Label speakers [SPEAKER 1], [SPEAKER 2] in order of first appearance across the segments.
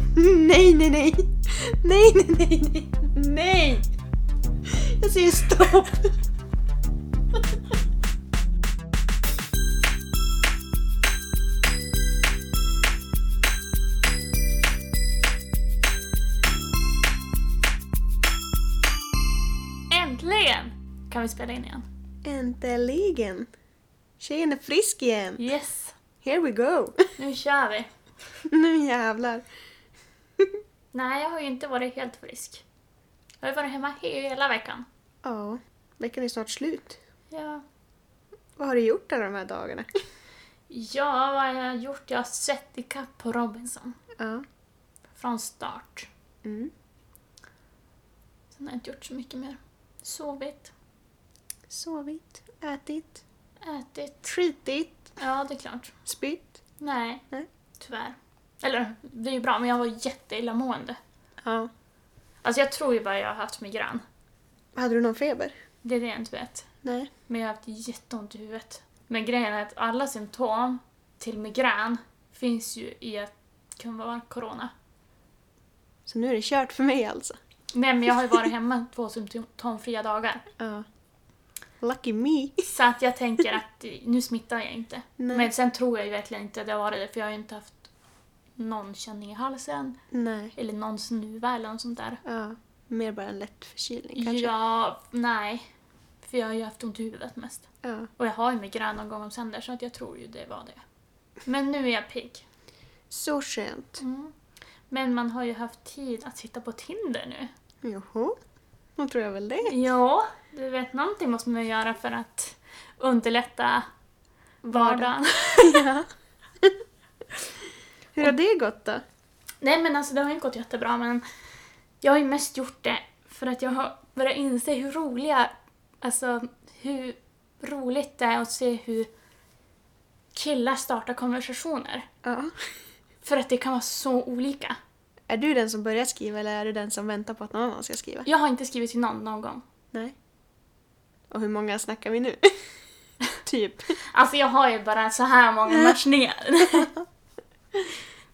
[SPEAKER 1] Nej, nej, nej. Nej, nej, nej, nej. Nej! Jag säger stopp.
[SPEAKER 2] Äntligen kan vi spela in igen.
[SPEAKER 1] Äntligen. Tjejen är frisk igen.
[SPEAKER 2] Yes,
[SPEAKER 1] Here we go.
[SPEAKER 2] nu kör vi.
[SPEAKER 1] Nu jävlar.
[SPEAKER 2] Nej, jag har ju inte varit helt frisk. Jag har ju varit hemma hela veckan.
[SPEAKER 1] Ja, veckan är snart slut.
[SPEAKER 2] Ja.
[SPEAKER 1] Vad har du gjort alla de här dagarna?
[SPEAKER 2] ja, vad har jag gjort? Jag har sett ikapp på Robinson.
[SPEAKER 1] Ja.
[SPEAKER 2] Från start.
[SPEAKER 1] Mm.
[SPEAKER 2] Sen har jag inte gjort så mycket mer. Sovit,
[SPEAKER 1] Sovit, ätit,
[SPEAKER 2] ätit.
[SPEAKER 1] skitit,
[SPEAKER 2] Ja, det är klart.
[SPEAKER 1] spytt.
[SPEAKER 2] Nej,
[SPEAKER 1] Nej.
[SPEAKER 2] tyvärr. Eller, det är ju bra, men jag var jätteillamående.
[SPEAKER 1] Ja.
[SPEAKER 2] Alltså jag tror ju bara jag har haft migrän.
[SPEAKER 1] Hade du någon feber?
[SPEAKER 2] Det är det jag inte vet.
[SPEAKER 1] Nej.
[SPEAKER 2] Men jag har haft jätteont i huvudet. Men grejen är att alla symptom till migrän finns ju i att det kan vara corona.
[SPEAKER 1] Så nu är det kört för mig alltså.
[SPEAKER 2] Nej men jag har ju varit hemma två symptomfria dagar.
[SPEAKER 1] Ja. Lucky me.
[SPEAKER 2] Så att jag tänker att nu smittar jag inte.
[SPEAKER 1] Nej.
[SPEAKER 2] Men sen tror jag ju verkligen inte att det har varit det för jag har ju inte haft någon känning i halsen
[SPEAKER 1] Nej.
[SPEAKER 2] eller någon snuva eller något sånt där.
[SPEAKER 1] Ja. Mer bara en lätt förkylning kanske.
[SPEAKER 2] Ja, nej. För jag har ju haft ont i huvudet mest.
[SPEAKER 1] ja.
[SPEAKER 2] Och jag har ju migrän någon gång om sänder så att jag tror ju det var det. Men nu är jag pigg.
[SPEAKER 1] Så skönt.
[SPEAKER 2] Mm. Men man har ju haft tid att sitta på Tinder nu.
[SPEAKER 1] Joho. Då tror jag väl det.
[SPEAKER 2] Ja, du vet, någonting måste man ju göra för att underlätta vardagen.
[SPEAKER 1] ja. Hur har det gått då?
[SPEAKER 2] Nej men alltså det har ju gått jättebra men jag har ju mest gjort det för att jag har börjat inse hur roliga, alltså hur roligt det är att se hur killar startar konversationer.
[SPEAKER 1] Ja.
[SPEAKER 2] För att det kan vara så olika.
[SPEAKER 1] Är du den som börjar skriva eller är du den som väntar på att någon annan ska skriva?
[SPEAKER 2] Jag har inte skrivit till någon någon gång.
[SPEAKER 1] Nej. Och hur många snackar vi nu? typ.
[SPEAKER 2] Alltså jag har ju bara så här många matchningar.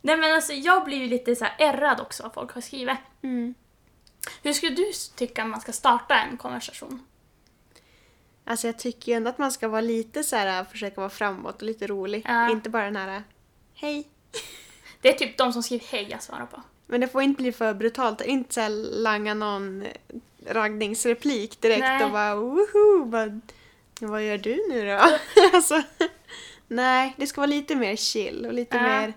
[SPEAKER 2] Nej men alltså jag blir ju lite så här ärrad också av folk har skrivit.
[SPEAKER 1] Mm.
[SPEAKER 2] Hur skulle du s- tycka man ska starta en konversation?
[SPEAKER 1] Alltså jag tycker ju ändå att man ska vara lite så här, försöka vara framåt och lite rolig.
[SPEAKER 2] Ja.
[SPEAKER 1] Inte bara den här, hej.
[SPEAKER 2] Det är typ de som skriver hej jag svarar på.
[SPEAKER 1] Men det får inte bli för brutalt. Inte så här langa någon raggningsreplik direkt
[SPEAKER 2] Nej.
[SPEAKER 1] och bara woho! Bara, vad gör du nu då? alltså, nej, det ska vara lite mer chill och lite
[SPEAKER 2] Ja.
[SPEAKER 1] mer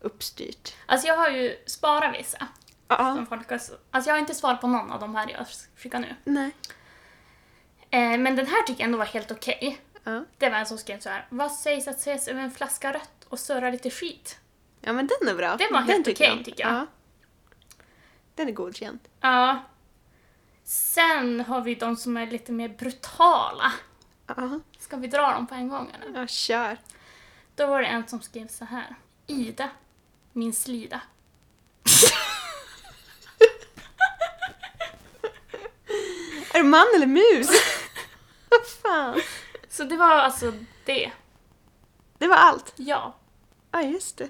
[SPEAKER 1] uppstyrt.
[SPEAKER 2] Alltså jag har ju sparat vissa.
[SPEAKER 1] Ja,
[SPEAKER 2] Som folk har, s- alltså jag har inte svarat på någon av de här jag s- skickar nu.
[SPEAKER 1] nej.
[SPEAKER 2] Eh, men den här tycker jag ändå var helt okej.
[SPEAKER 1] Ja.
[SPEAKER 2] Det var en som skrev så här. Vad sägs att ses över en flaska rött och surra lite skit?
[SPEAKER 1] ja, men den är bra.
[SPEAKER 2] Den var helt
[SPEAKER 1] tycker
[SPEAKER 2] okej, tycker jag.
[SPEAKER 1] Ja. Den är godkänd.
[SPEAKER 2] Ja. Sen har vi de som är lite mer brutala.
[SPEAKER 1] Ja,
[SPEAKER 2] Ska vi dra dem på en gång eller?
[SPEAKER 1] ja kör.
[SPEAKER 2] Då var det en som skrev så här. Ida, min slida.
[SPEAKER 1] Är du man eller mus? Vad fan?
[SPEAKER 2] Så det var alltså det.
[SPEAKER 1] Det var allt.
[SPEAKER 2] Ja.
[SPEAKER 1] Ja, just det.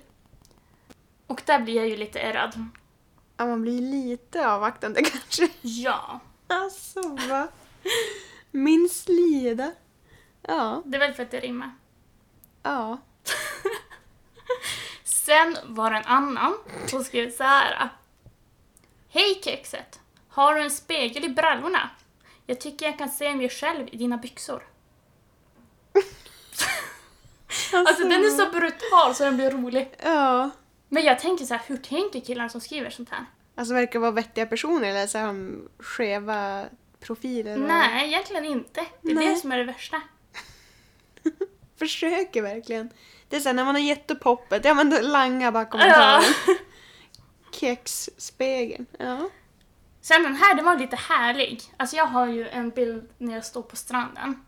[SPEAKER 2] Och där blir jag ju lite ärrad.
[SPEAKER 1] Ja, man blir lite avvaktande kanske.
[SPEAKER 2] Ja.
[SPEAKER 1] Alltså va? Min slida. Ja,
[SPEAKER 2] Det är väl för att det rimmar.
[SPEAKER 1] ja.
[SPEAKER 2] Sen var det en annan som skrev så här. Hej kexet! Har du en spegel i brallorna? Jag tycker jag kan se mig själv i dina byxor. Alltså den är så brutal så den blir rolig.
[SPEAKER 1] Ja.
[SPEAKER 2] Men jag tänker så här, hur tänker killarna som skriver sånt här?
[SPEAKER 1] Alltså verkar vara vettiga personer eller så har de skeva profiler. och-
[SPEAKER 2] Nej, egentligen inte. Det är
[SPEAKER 1] Mm. Nej.
[SPEAKER 2] det som är det värsta.
[SPEAKER 1] Försöker verkligen. Det är såhär när man har gett upp hoppet, ja men då langar bara
[SPEAKER 2] Ja.
[SPEAKER 1] kommentaren. Kexspegeln. Ja.
[SPEAKER 2] Sen den här, den var lite härlig. Alltså jag har ju en bild när jag står på stranden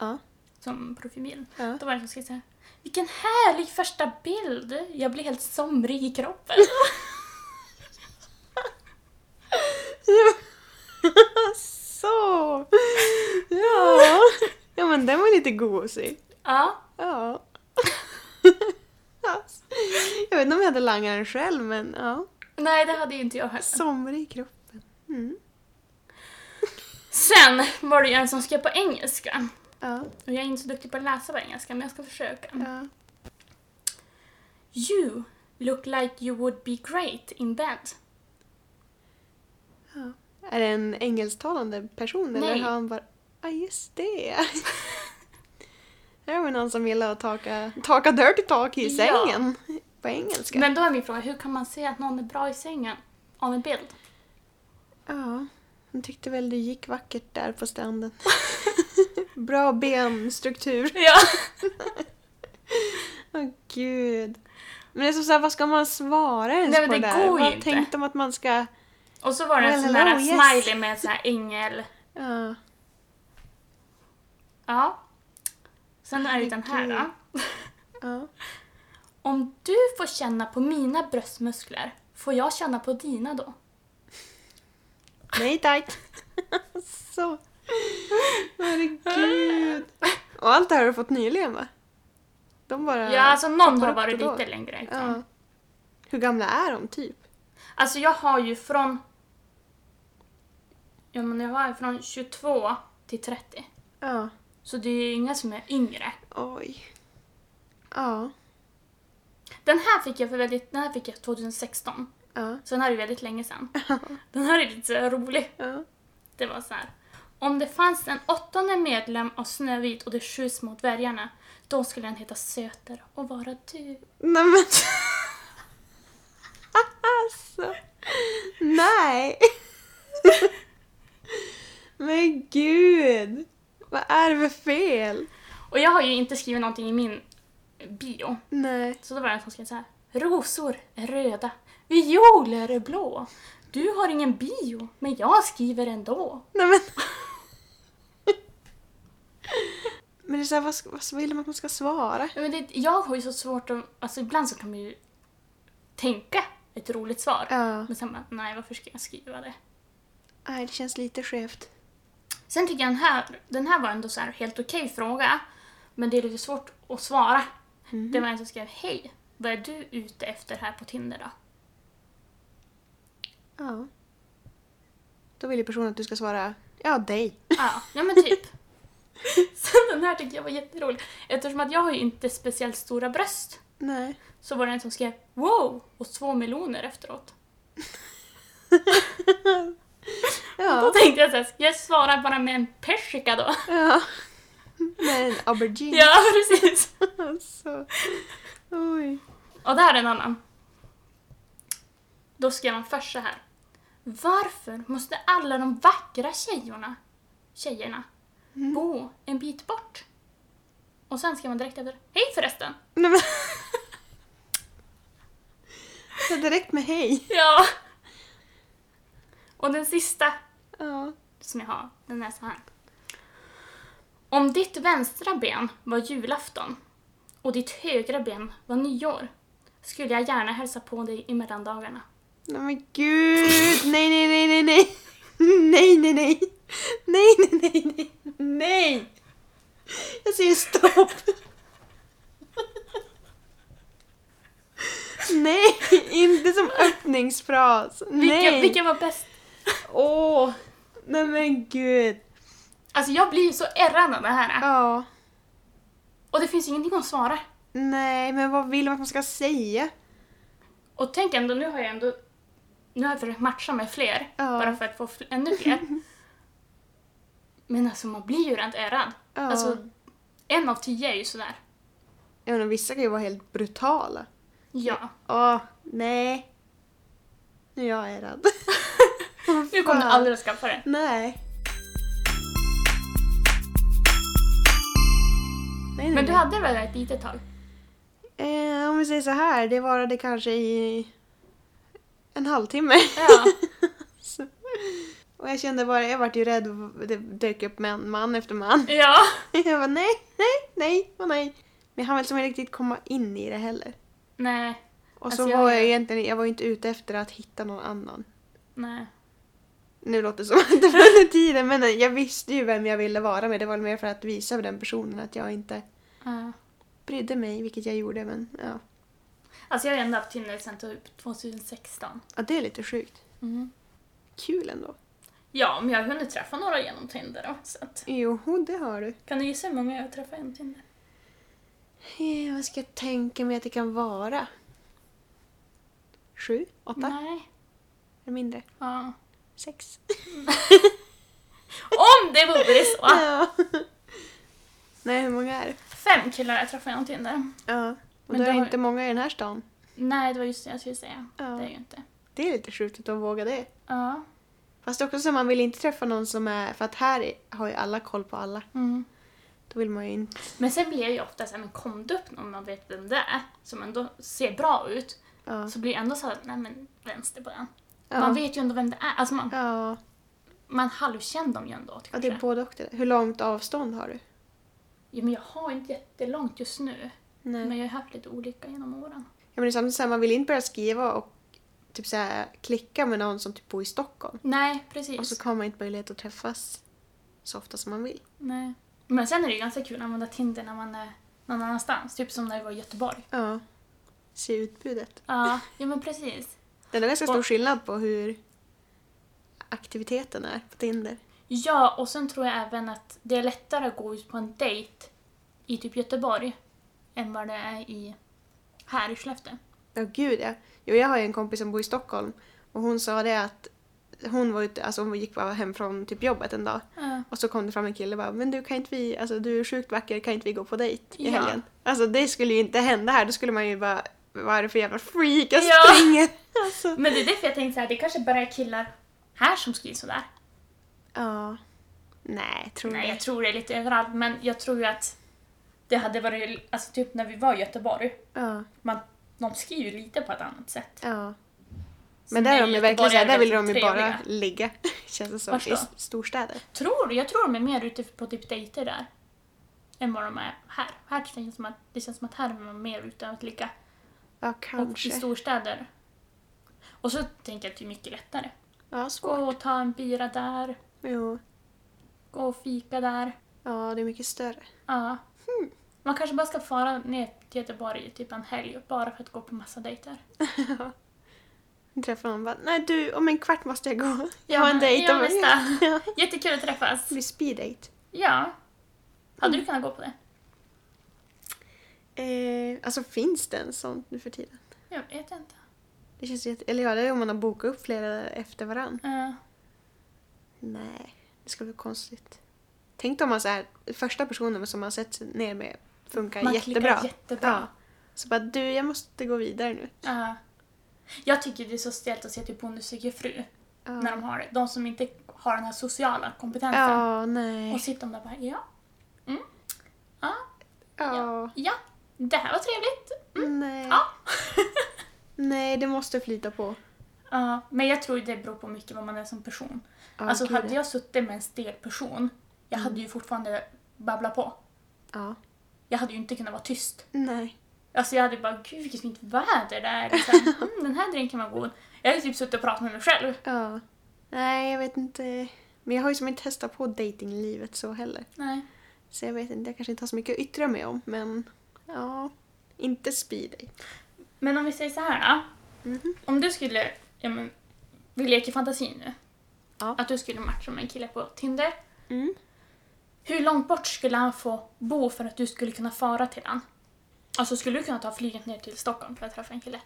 [SPEAKER 1] Ja.
[SPEAKER 2] som profilbild.
[SPEAKER 1] Ja.
[SPEAKER 2] Då var det som skrev såhär. Vilken härlig första bild! Jag blir helt somrig i kroppen.
[SPEAKER 1] så. Ja. Ja men den var lite gosig.
[SPEAKER 2] ja.
[SPEAKER 1] Ja. Alltså, Jag vet inte om jag hade langaren själv, men ja.
[SPEAKER 2] Nej, det hade ju inte jag heller.
[SPEAKER 1] Somrig i kroppen. Mm.
[SPEAKER 2] Sen var det ju en som skrev på engelska.
[SPEAKER 1] Ja,
[SPEAKER 2] Och jag är inte så duktig på att läsa på engelska, men jag ska försöka.
[SPEAKER 1] ja.
[SPEAKER 2] You look like you would be great in bed.
[SPEAKER 1] Är det en engelsktalande person eller
[SPEAKER 2] Nej.
[SPEAKER 1] har han bara Ja ah, just det. Det var någon som gillar att taka, taka dirty talk i
[SPEAKER 2] Ja.
[SPEAKER 1] sängen. På engelska.
[SPEAKER 2] Men då är min fråga, hur kan man se att någon är bra i sängen? Av en bild?
[SPEAKER 1] Ja, hon tyckte väl det gick vackert där på stranden. Bra benstruktur.
[SPEAKER 2] Ja.
[SPEAKER 1] Åh gud. Men det är som så här, vad ska man svara ens
[SPEAKER 2] Nej, men
[SPEAKER 1] på
[SPEAKER 2] det
[SPEAKER 1] där?
[SPEAKER 2] går ju
[SPEAKER 1] Vad
[SPEAKER 2] inte.
[SPEAKER 1] tänkte de att man ska...
[SPEAKER 2] Och så var det en
[SPEAKER 1] Well,
[SPEAKER 2] sån där
[SPEAKER 1] hello, yes.
[SPEAKER 2] smiley med en sån här ängel.
[SPEAKER 1] Ja.
[SPEAKER 2] Ja. Sen är det den här då.
[SPEAKER 1] Herregud. ja.
[SPEAKER 2] Om du får känna på mina bröstmuskler, får jag känna på dina då?
[SPEAKER 1] Nej tack. så. Herregud. Och allt det här har du fått nyligen va? De bara...
[SPEAKER 2] Ja, alltså liksom. någon
[SPEAKER 1] tar
[SPEAKER 2] har
[SPEAKER 1] upp
[SPEAKER 2] varit
[SPEAKER 1] det Eh, då.
[SPEAKER 2] lite längre ifrån.
[SPEAKER 1] Ja. Hur gamla är de typ?
[SPEAKER 2] Alltså jag har ju från... Ja men jag har ju från 22 till 30.
[SPEAKER 1] Ja.
[SPEAKER 2] Så det är ju inga som är yngre.
[SPEAKER 1] Oj. Ja.
[SPEAKER 2] Den här fick jag, för väldigt, den här fick jag 2016.
[SPEAKER 1] Ja.
[SPEAKER 2] Så den här är väldigt länge sedan. Den här är lite så här rolig.
[SPEAKER 1] Ja.
[SPEAKER 2] Det var så här. Om det fanns en åttonde medlem av Snövit och de sju små dvärgarna, då skulle den heta Söter och vara du.
[SPEAKER 1] Nej men... alltså. Nej. men gud. Vad är det för fel?
[SPEAKER 2] Och jag har ju inte skrivit någonting i min bio.
[SPEAKER 1] Nej.
[SPEAKER 2] Så då var det en som skrev så här. Rosor är röda, violer är blå. Du har ingen bio, men jag skriver ändå.
[SPEAKER 1] Nej men... men det är så här, vad, ska- vad vill de att man ska svara?
[SPEAKER 2] Ja, Men det, jag har ju så svårt att... Alltså ibland så kan man ju tänka ett roligt svar.
[SPEAKER 1] Ja.
[SPEAKER 2] Men sen bara, nej varför ska jag skriva det?
[SPEAKER 1] Nej, det känns lite skevt.
[SPEAKER 2] Sen tycker jag den här, den här var ändå så här helt okej fråga. Men det är lite svårt att svara.
[SPEAKER 1] Mm.
[SPEAKER 2] Det var en som skrev, hej, vad är du ute efter här på Tinder då?
[SPEAKER 1] Ja. Då vill ju personen att du ska svara ja, dig.
[SPEAKER 2] Ja, ja men typ. Sen den här tycker jag var jätterolig. Eftersom att jag har ju inte speciellt stora bröst
[SPEAKER 1] Nej.
[SPEAKER 2] så var det en som skrev wow och två meloner efteråt. Då
[SPEAKER 1] Ja.
[SPEAKER 2] tänkte jag såhär, ska jag svara bara med en persika då?
[SPEAKER 1] ja. Med en aubergine.
[SPEAKER 2] Ja, precis.
[SPEAKER 1] Alltså. Oj.
[SPEAKER 2] Och där är en annan. Då skrev han först så här. Varför måste alla de vackra tjejorna, tjejerna bo en bit bort? Och sen skrev man direkt efter. Hej förresten!
[SPEAKER 1] Nej, men... Så direkt med hej.
[SPEAKER 2] Ja. Och den sista
[SPEAKER 1] Ja.
[SPEAKER 2] som jag har, den är så här. Om ditt vänstra ben var julafton och ditt högra ben var nyår skulle jag gärna hälsa på dig i mellandagarna.
[SPEAKER 1] Nej men gud. Nej, nej, nej, nej, nej. Nej, nej, nej. Nej, nej, nej, nej. Nej. Jag säger stopp. Nej, inte som öppningsfras.
[SPEAKER 2] Vilken,
[SPEAKER 1] Nej.
[SPEAKER 2] vilken var bäst?
[SPEAKER 1] Åh. Nej men gud.
[SPEAKER 2] Alltså jag blir ju så ärrad av det här.
[SPEAKER 1] Ja.
[SPEAKER 2] Och det finns ju ingenting att svara.
[SPEAKER 1] Nej, men vad vill man att man ska säga?
[SPEAKER 2] Och tänk ändå, nu har jag ändå nu har jag försökt matcha med fler,
[SPEAKER 1] Ja.
[SPEAKER 2] bara för att få fl- ännu fler. Men alltså man blir ju rent ärrad.
[SPEAKER 1] Ja.
[SPEAKER 2] Alltså, en av tio är ju sådär.
[SPEAKER 1] Jag menar, vissa kan ju vara helt brutala.
[SPEAKER 2] Ja.
[SPEAKER 1] Åh, nej. Nu är jag ärrad.
[SPEAKER 2] Nu kommer du
[SPEAKER 1] Fan.
[SPEAKER 2] aldrig att skaffa det.
[SPEAKER 1] Nej. Nej, nej,
[SPEAKER 2] Men du
[SPEAKER 1] nej.
[SPEAKER 2] hade väl ett litet tag?
[SPEAKER 1] Eh, om vi säger så här, det varade kanske i en halvtimme.
[SPEAKER 2] Ja.
[SPEAKER 1] Så. Och jag kände bara, jag vart ju rädd, det dök upp män, man efter man.
[SPEAKER 2] Ja.
[SPEAKER 1] Jag bara nej, nej, nej och nej. Men han vill som inte riktigt komma in i det heller.
[SPEAKER 2] Nej.
[SPEAKER 1] Och så
[SPEAKER 2] Alltså, jag-
[SPEAKER 1] var jag egentligen, jag var ju inte ute efter att hitta någon annan.
[SPEAKER 2] Nej.
[SPEAKER 1] Nu låter det som att det var under tiden, men jag visste ju vem jag ville vara med. Det var mer för att visa för den personen att jag inte
[SPEAKER 2] Ja.
[SPEAKER 1] brydde mig, vilket jag gjorde, men ja.
[SPEAKER 2] Alltså jag har ändå haft Tinder sedan typ 2016.
[SPEAKER 1] Ja, det är lite sjukt. Kul ändå.
[SPEAKER 2] Ja, men jag har hunnit träffa några genom Tinder då. Så att,
[SPEAKER 1] Joho, det har du.
[SPEAKER 2] kan du gissa hur många jag har träffat genom Tinder?
[SPEAKER 1] Eh, vad ska jag tänka mig att det kan vara? Sju? Åtta?
[SPEAKER 2] Nej.
[SPEAKER 1] Eller mindre?
[SPEAKER 2] Ja.
[SPEAKER 1] Sex?
[SPEAKER 2] Om det vore så!
[SPEAKER 1] Ja. Nej, hur många är det?
[SPEAKER 2] Fem killar jag träffat genom Tinder.
[SPEAKER 1] Ja. Och då
[SPEAKER 2] Men
[SPEAKER 1] är
[SPEAKER 2] det
[SPEAKER 1] det
[SPEAKER 2] har-
[SPEAKER 1] inte många i den här stan.
[SPEAKER 2] Nej, det var just det jag skulle säga.
[SPEAKER 1] Ja.
[SPEAKER 2] Det är ju inte.
[SPEAKER 1] Det är lite sjukt att de vågar det.
[SPEAKER 2] Ja.
[SPEAKER 1] Fast också så man vill inte träffa någon som är... För att här är- har ju alla koll på alla.
[SPEAKER 2] Mm.
[SPEAKER 1] Då vill man ju inte...
[SPEAKER 2] Men sen blir jag ju ofta såhär, men kom det upp någon man vet vem det är, som ändå ser bra ut,
[SPEAKER 1] Ja.
[SPEAKER 2] så blir jag ändå såhär, nej men vänster på den.
[SPEAKER 1] Ja.
[SPEAKER 2] Man vet ju ändå vem det är, alltså man,
[SPEAKER 1] Ja.
[SPEAKER 2] man halvkänner dem ju ändå kanske.
[SPEAKER 1] ja, det är både och det där. Hur långt avstånd har du?
[SPEAKER 2] ja, men jag har inte jättelångt just nu,
[SPEAKER 1] Nej.
[SPEAKER 2] men jag har haft lite olika genom åren.
[SPEAKER 1] Ja, men det är samtidigt så här, man vill inte börja skriva och typ så här, klicka med någon som typ bor i Stockholm.
[SPEAKER 2] Nej, precis.
[SPEAKER 1] Och så kommer man inte möjlighet att träffas så ofta som man vill.
[SPEAKER 2] Nej. Men sen är det ju ganska kul att använda Tinder när man är någon annanstans, typ som när jag var i Göteborg.
[SPEAKER 1] Ja. Se utbudet.
[SPEAKER 2] Ja, ja men precis.
[SPEAKER 1] Det är ganska stor
[SPEAKER 2] Och-
[SPEAKER 1] skillnad på hur aktiviteten är på Tinder.
[SPEAKER 2] Ja, och sen tror jag även att det är lättare att gå ut på en dejt i typ Göteborg än vad det är i här i Skellefteå.
[SPEAKER 1] Ja, gud ja. Jo, jag har ju en kompis som bor i Stockholm och hon sa det att hon var ute, alltså hon gick bara hem från typ jobbet en dag och så kom det fram en kille och bara “men du kan inte vi, alltså du är sjukt vacker, kan inte vi gå på dejt i
[SPEAKER 2] Ja.
[SPEAKER 1] helgen?” Alltså det skulle ju inte hända här, då skulle man ju bara “vad är det för jävla freak, jag
[SPEAKER 2] Ja.
[SPEAKER 1] springer!” alltså.
[SPEAKER 2] Men det är därför jag tänkte så här, det kanske bara är killar här som skriver sådär.
[SPEAKER 1] Ja. Nej, tror
[SPEAKER 2] Nej,
[SPEAKER 1] jag.
[SPEAKER 2] jag tror det är lite överallt, men jag tror ju att det hade varit, alltså typ när vi var i Göteborg,
[SPEAKER 1] Ja.
[SPEAKER 2] man, de skriver ju lite på ett annat sätt.
[SPEAKER 1] ja.
[SPEAKER 2] Så
[SPEAKER 1] Men där, är de
[SPEAKER 2] nej,
[SPEAKER 1] ju
[SPEAKER 2] Göteborg
[SPEAKER 1] verkligen, så här,
[SPEAKER 2] är
[SPEAKER 1] där vill de ju
[SPEAKER 2] väldigt
[SPEAKER 1] bara
[SPEAKER 2] trevliga.
[SPEAKER 1] ligga, känns det som,
[SPEAKER 2] Vart
[SPEAKER 1] i
[SPEAKER 2] då?
[SPEAKER 1] s- storstäder.
[SPEAKER 2] Tror du? Jag tror de är mer ute på typ dejter där. Än vad de är här. Här känns det som att, det känns som att här är man mer ute att ligga.
[SPEAKER 1] Ja,
[SPEAKER 2] Och i
[SPEAKER 1] kanske.
[SPEAKER 2] storstäder. Och så tänker jag att det är mycket lättare.
[SPEAKER 1] Ja,
[SPEAKER 2] Gå
[SPEAKER 1] svårt.
[SPEAKER 2] och ta en bira där,
[SPEAKER 1] Jo.
[SPEAKER 2] gå och fika där.
[SPEAKER 1] Ja, det är mycket större.
[SPEAKER 2] Ja.
[SPEAKER 1] Hmm.
[SPEAKER 2] Man kanske bara ska fara ner till Göteborg i typ en helg bara för att gå på massa dejter.
[SPEAKER 1] träffar någon och bara “Nej du, om en kvart måste jag gå. Jag
[SPEAKER 2] Ja,
[SPEAKER 1] har en
[SPEAKER 2] men-
[SPEAKER 1] dejt
[SPEAKER 2] ja,
[SPEAKER 1] om en
[SPEAKER 2] nästa.
[SPEAKER 1] Ja.
[SPEAKER 2] Jättekul att träffas.
[SPEAKER 1] Det blir speed date.
[SPEAKER 2] Ja. Hade
[SPEAKER 1] Hmm.
[SPEAKER 2] du kunnat gå på det?
[SPEAKER 1] Eh, alltså finns det en sån nu för tiden?
[SPEAKER 2] Jag vet inte.
[SPEAKER 1] Det känns jätte... Eller ja, det är om man har bokat upp flera efter varann.
[SPEAKER 2] Ja.
[SPEAKER 1] Nej, det skulle bli konstigt. Tänk om man så här, första personen som man sett sig ner med funkar
[SPEAKER 2] man
[SPEAKER 1] jättebra.
[SPEAKER 2] klickar jättebra.
[SPEAKER 1] Ja. Så bara du, jag måste gå vidare nu.
[SPEAKER 2] Ja. Jag tycker det är så stelt att se typ Bonde söker fru.
[SPEAKER 1] Ja.
[SPEAKER 2] När de har det. De som inte har den här sociala kompetensen.
[SPEAKER 1] Ja,
[SPEAKER 2] Och
[SPEAKER 1] nej.
[SPEAKER 2] sitter de där och bara ja.
[SPEAKER 1] Ja,
[SPEAKER 2] Ja, det här var trevligt.
[SPEAKER 1] nej.
[SPEAKER 2] Ja.
[SPEAKER 1] Nej, det måste flyta på.
[SPEAKER 2] Ja, men jag tror det beror på mycket vad man är som person.
[SPEAKER 1] Ja,
[SPEAKER 2] alltså
[SPEAKER 1] gud,
[SPEAKER 2] hade
[SPEAKER 1] ja. Mm.
[SPEAKER 2] jag suttit med en stel person, jag hade ju fortfarande babblat på.
[SPEAKER 1] Ja.
[SPEAKER 2] Jag hade ju inte kunnat vara tyst.
[SPEAKER 1] Nej.
[SPEAKER 2] Alltså jag hade bara, gud vilket fint väder det är. Liksom. Mm, den här drinken var god. Jag hade typ suttit och pratat med mig själv.
[SPEAKER 1] Ja. Nej, jag vet inte. Men jag har ju som inte testat på datinglivet så heller.
[SPEAKER 2] Nej.
[SPEAKER 1] Så jag vet inte, jag kanske inte har så mycket att yttra mig om. Men ja, inte speed date.
[SPEAKER 2] Men om vi säger så här då.
[SPEAKER 1] Mhm.
[SPEAKER 2] Om du skulle, ja men, vi leker fantasin nu.
[SPEAKER 1] Ja.
[SPEAKER 2] Att du skulle matcha med en kille på Tinder.
[SPEAKER 1] Mm.
[SPEAKER 2] Hur långt bort skulle han få bo för att du skulle kunna fara till han? Alltså skulle du kunna ta flyget ner till Stockholm för att träffa en kille?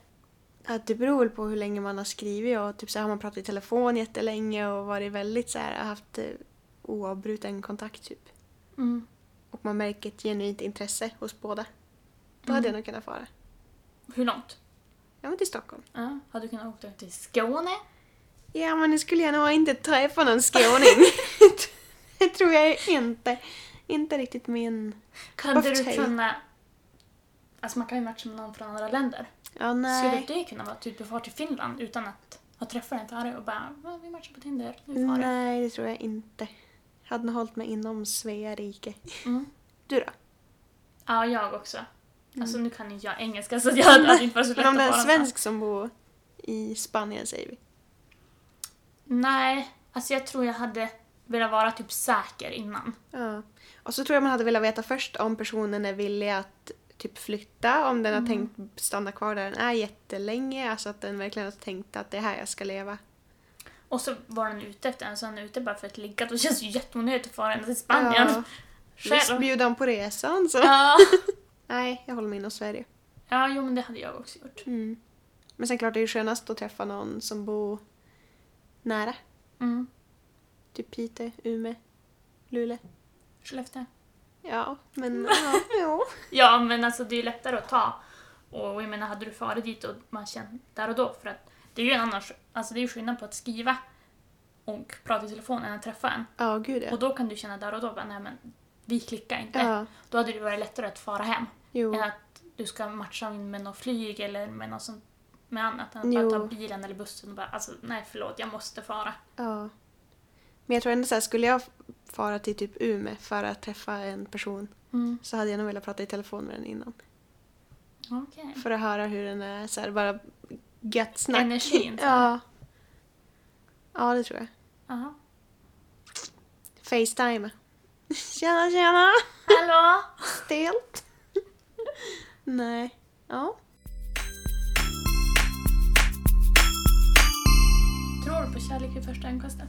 [SPEAKER 1] Att det beror väl på hur länge man har skrivit och typ så här, har man pratat i telefon jättelänge och varit väldigt så här, haft eh, oavbruten kontakt typ.
[SPEAKER 2] Mm.
[SPEAKER 1] Och man märker ett genuint intresse hos båda. Då hade jag nog kunnat fara.
[SPEAKER 2] Hur långt?
[SPEAKER 1] Ja men till Stockholm.
[SPEAKER 2] Ja. Hade du kunnat åka till Skåne?
[SPEAKER 1] Ja men nu skulle jag nog inte träffa någon skåning. det tror jag inte. Inte riktigt min...
[SPEAKER 2] Kunde
[SPEAKER 1] Varför
[SPEAKER 2] du
[SPEAKER 1] Thailand?
[SPEAKER 2] kunna... Alltså man kan ju matcha med någon från andra länder.
[SPEAKER 1] Ja nej.
[SPEAKER 2] Skulle det kunna vara typ du far till Finland utan att ha träffat en förare och bara "Va, vi matchar på Tinder, nu far det.
[SPEAKER 1] Nej, det tror jag inte. Hade nog hållit mig inom Svea rike.
[SPEAKER 2] Mm.
[SPEAKER 1] Du då?
[SPEAKER 2] Ja, jag också. Alltså nu kan inte jag engelska så jag hade inte varit så lätt
[SPEAKER 1] Mm. Men om det är
[SPEAKER 2] att
[SPEAKER 1] en
[SPEAKER 2] fara någonstans.
[SPEAKER 1] svensk som bor i Spanien säger vi.
[SPEAKER 2] Nej, alltså jag tror jag hade velat vara typ säker innan.
[SPEAKER 1] Ja. Och så tror jag man hade velat veta först om personen är villig att typ flytta om den har
[SPEAKER 2] Mm.
[SPEAKER 1] tänkt stanna kvar där den är jättelänge. Alltså att den verkligen har tänkt att det är här jag ska leva.
[SPEAKER 2] Och så var den ute efter en, så den är ute bara för att ligga. Då känns det ju jätteonödigt att fara ända till Spanien.
[SPEAKER 1] Ja, visst
[SPEAKER 2] Själv.
[SPEAKER 1] bjuda på resan så.
[SPEAKER 2] Ja.
[SPEAKER 1] Nej, jag håller mig inom Sverige.
[SPEAKER 2] ja, jo men det hade jag också gjort.
[SPEAKER 1] Mm. Men sen klart det är ju skönast att träffa någon som bor nära.
[SPEAKER 2] Mm.
[SPEAKER 1] Typ Piteå, Umeå, Luleå.
[SPEAKER 2] Skellefteå.
[SPEAKER 1] Ja, men ja. jo.
[SPEAKER 2] Ja, men alltså det är ju lättare att ta. Och jag menar, hade du farit dit och man kände där och då, för att det är ju en annan, sk- alltså det är ju skillnad på att skriva och prata i telefon än att träffa en.
[SPEAKER 1] Ja, gud ja.
[SPEAKER 2] Och då kan du känna där och då, bara, nej men vi klickar inte.
[SPEAKER 1] Ja,
[SPEAKER 2] Då hade det varit lättare att fara hem
[SPEAKER 1] jo.
[SPEAKER 2] än att du ska matcha in med något flyg eller med något sånt, med annat. Än att
[SPEAKER 1] Jo.
[SPEAKER 2] bara ta bilen eller bussen och bara, alltså nej förlåt, jag måste fara.
[SPEAKER 1] Ja. Men jag tror ändå så här, skulle jag fara till typ Umeå för att träffa en person
[SPEAKER 2] Mm.
[SPEAKER 1] så hade jag nog velat prata i telefon med den innan.
[SPEAKER 2] Okej.
[SPEAKER 1] För att höra hur den är så här, bara gött snack.
[SPEAKER 2] Energin, så här.
[SPEAKER 1] Ja. Ja, det tror jag.
[SPEAKER 2] Jaha.
[SPEAKER 1] Facetime. Tjena, tjena!
[SPEAKER 2] Hallå!
[SPEAKER 1] Stelt. Nej. Ja.
[SPEAKER 2] Tror du på kärlek vid första ögonkastet?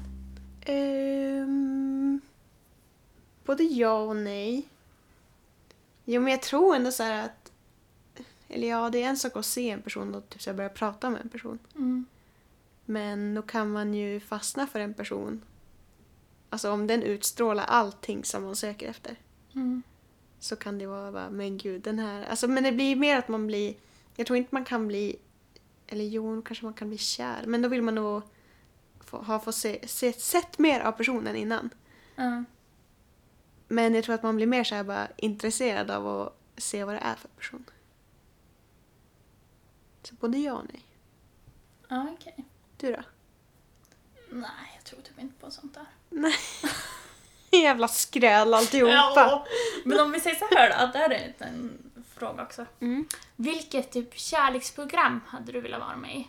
[SPEAKER 1] Ehm, både ja och nej. Jo, men jag tror ändå så här att... Eller ja, det är en sak att se en person och typ så här börja prata med en person.
[SPEAKER 2] Mm.
[SPEAKER 1] Men då kan man ju fastna för en person. Alltså om den utstrålar allting som man söker efter
[SPEAKER 2] Mm.
[SPEAKER 1] så kan det vara bara, men gud, den här... Alltså, men det blir mer att man blir... Jag tror inte man kan bli... Eller jo, kanske man kan bli kär. Men då vill man nog få, ha få se, se, sett mer av personen innan.
[SPEAKER 2] Ja.
[SPEAKER 1] Men jag tror att man blir mer så här bara intresserad av att se vad det är för person. Så både ja och nej.
[SPEAKER 2] Ja, okej.
[SPEAKER 1] Du då?
[SPEAKER 2] Nej, jag tror typ inte på sånt där.
[SPEAKER 1] Jävla skräll alltihopa!
[SPEAKER 2] Ja, men om vi säger så här då, det här är en liten fråga också.
[SPEAKER 1] Mm.
[SPEAKER 2] Vilket typ kärleksprogram hade du velat vara med i?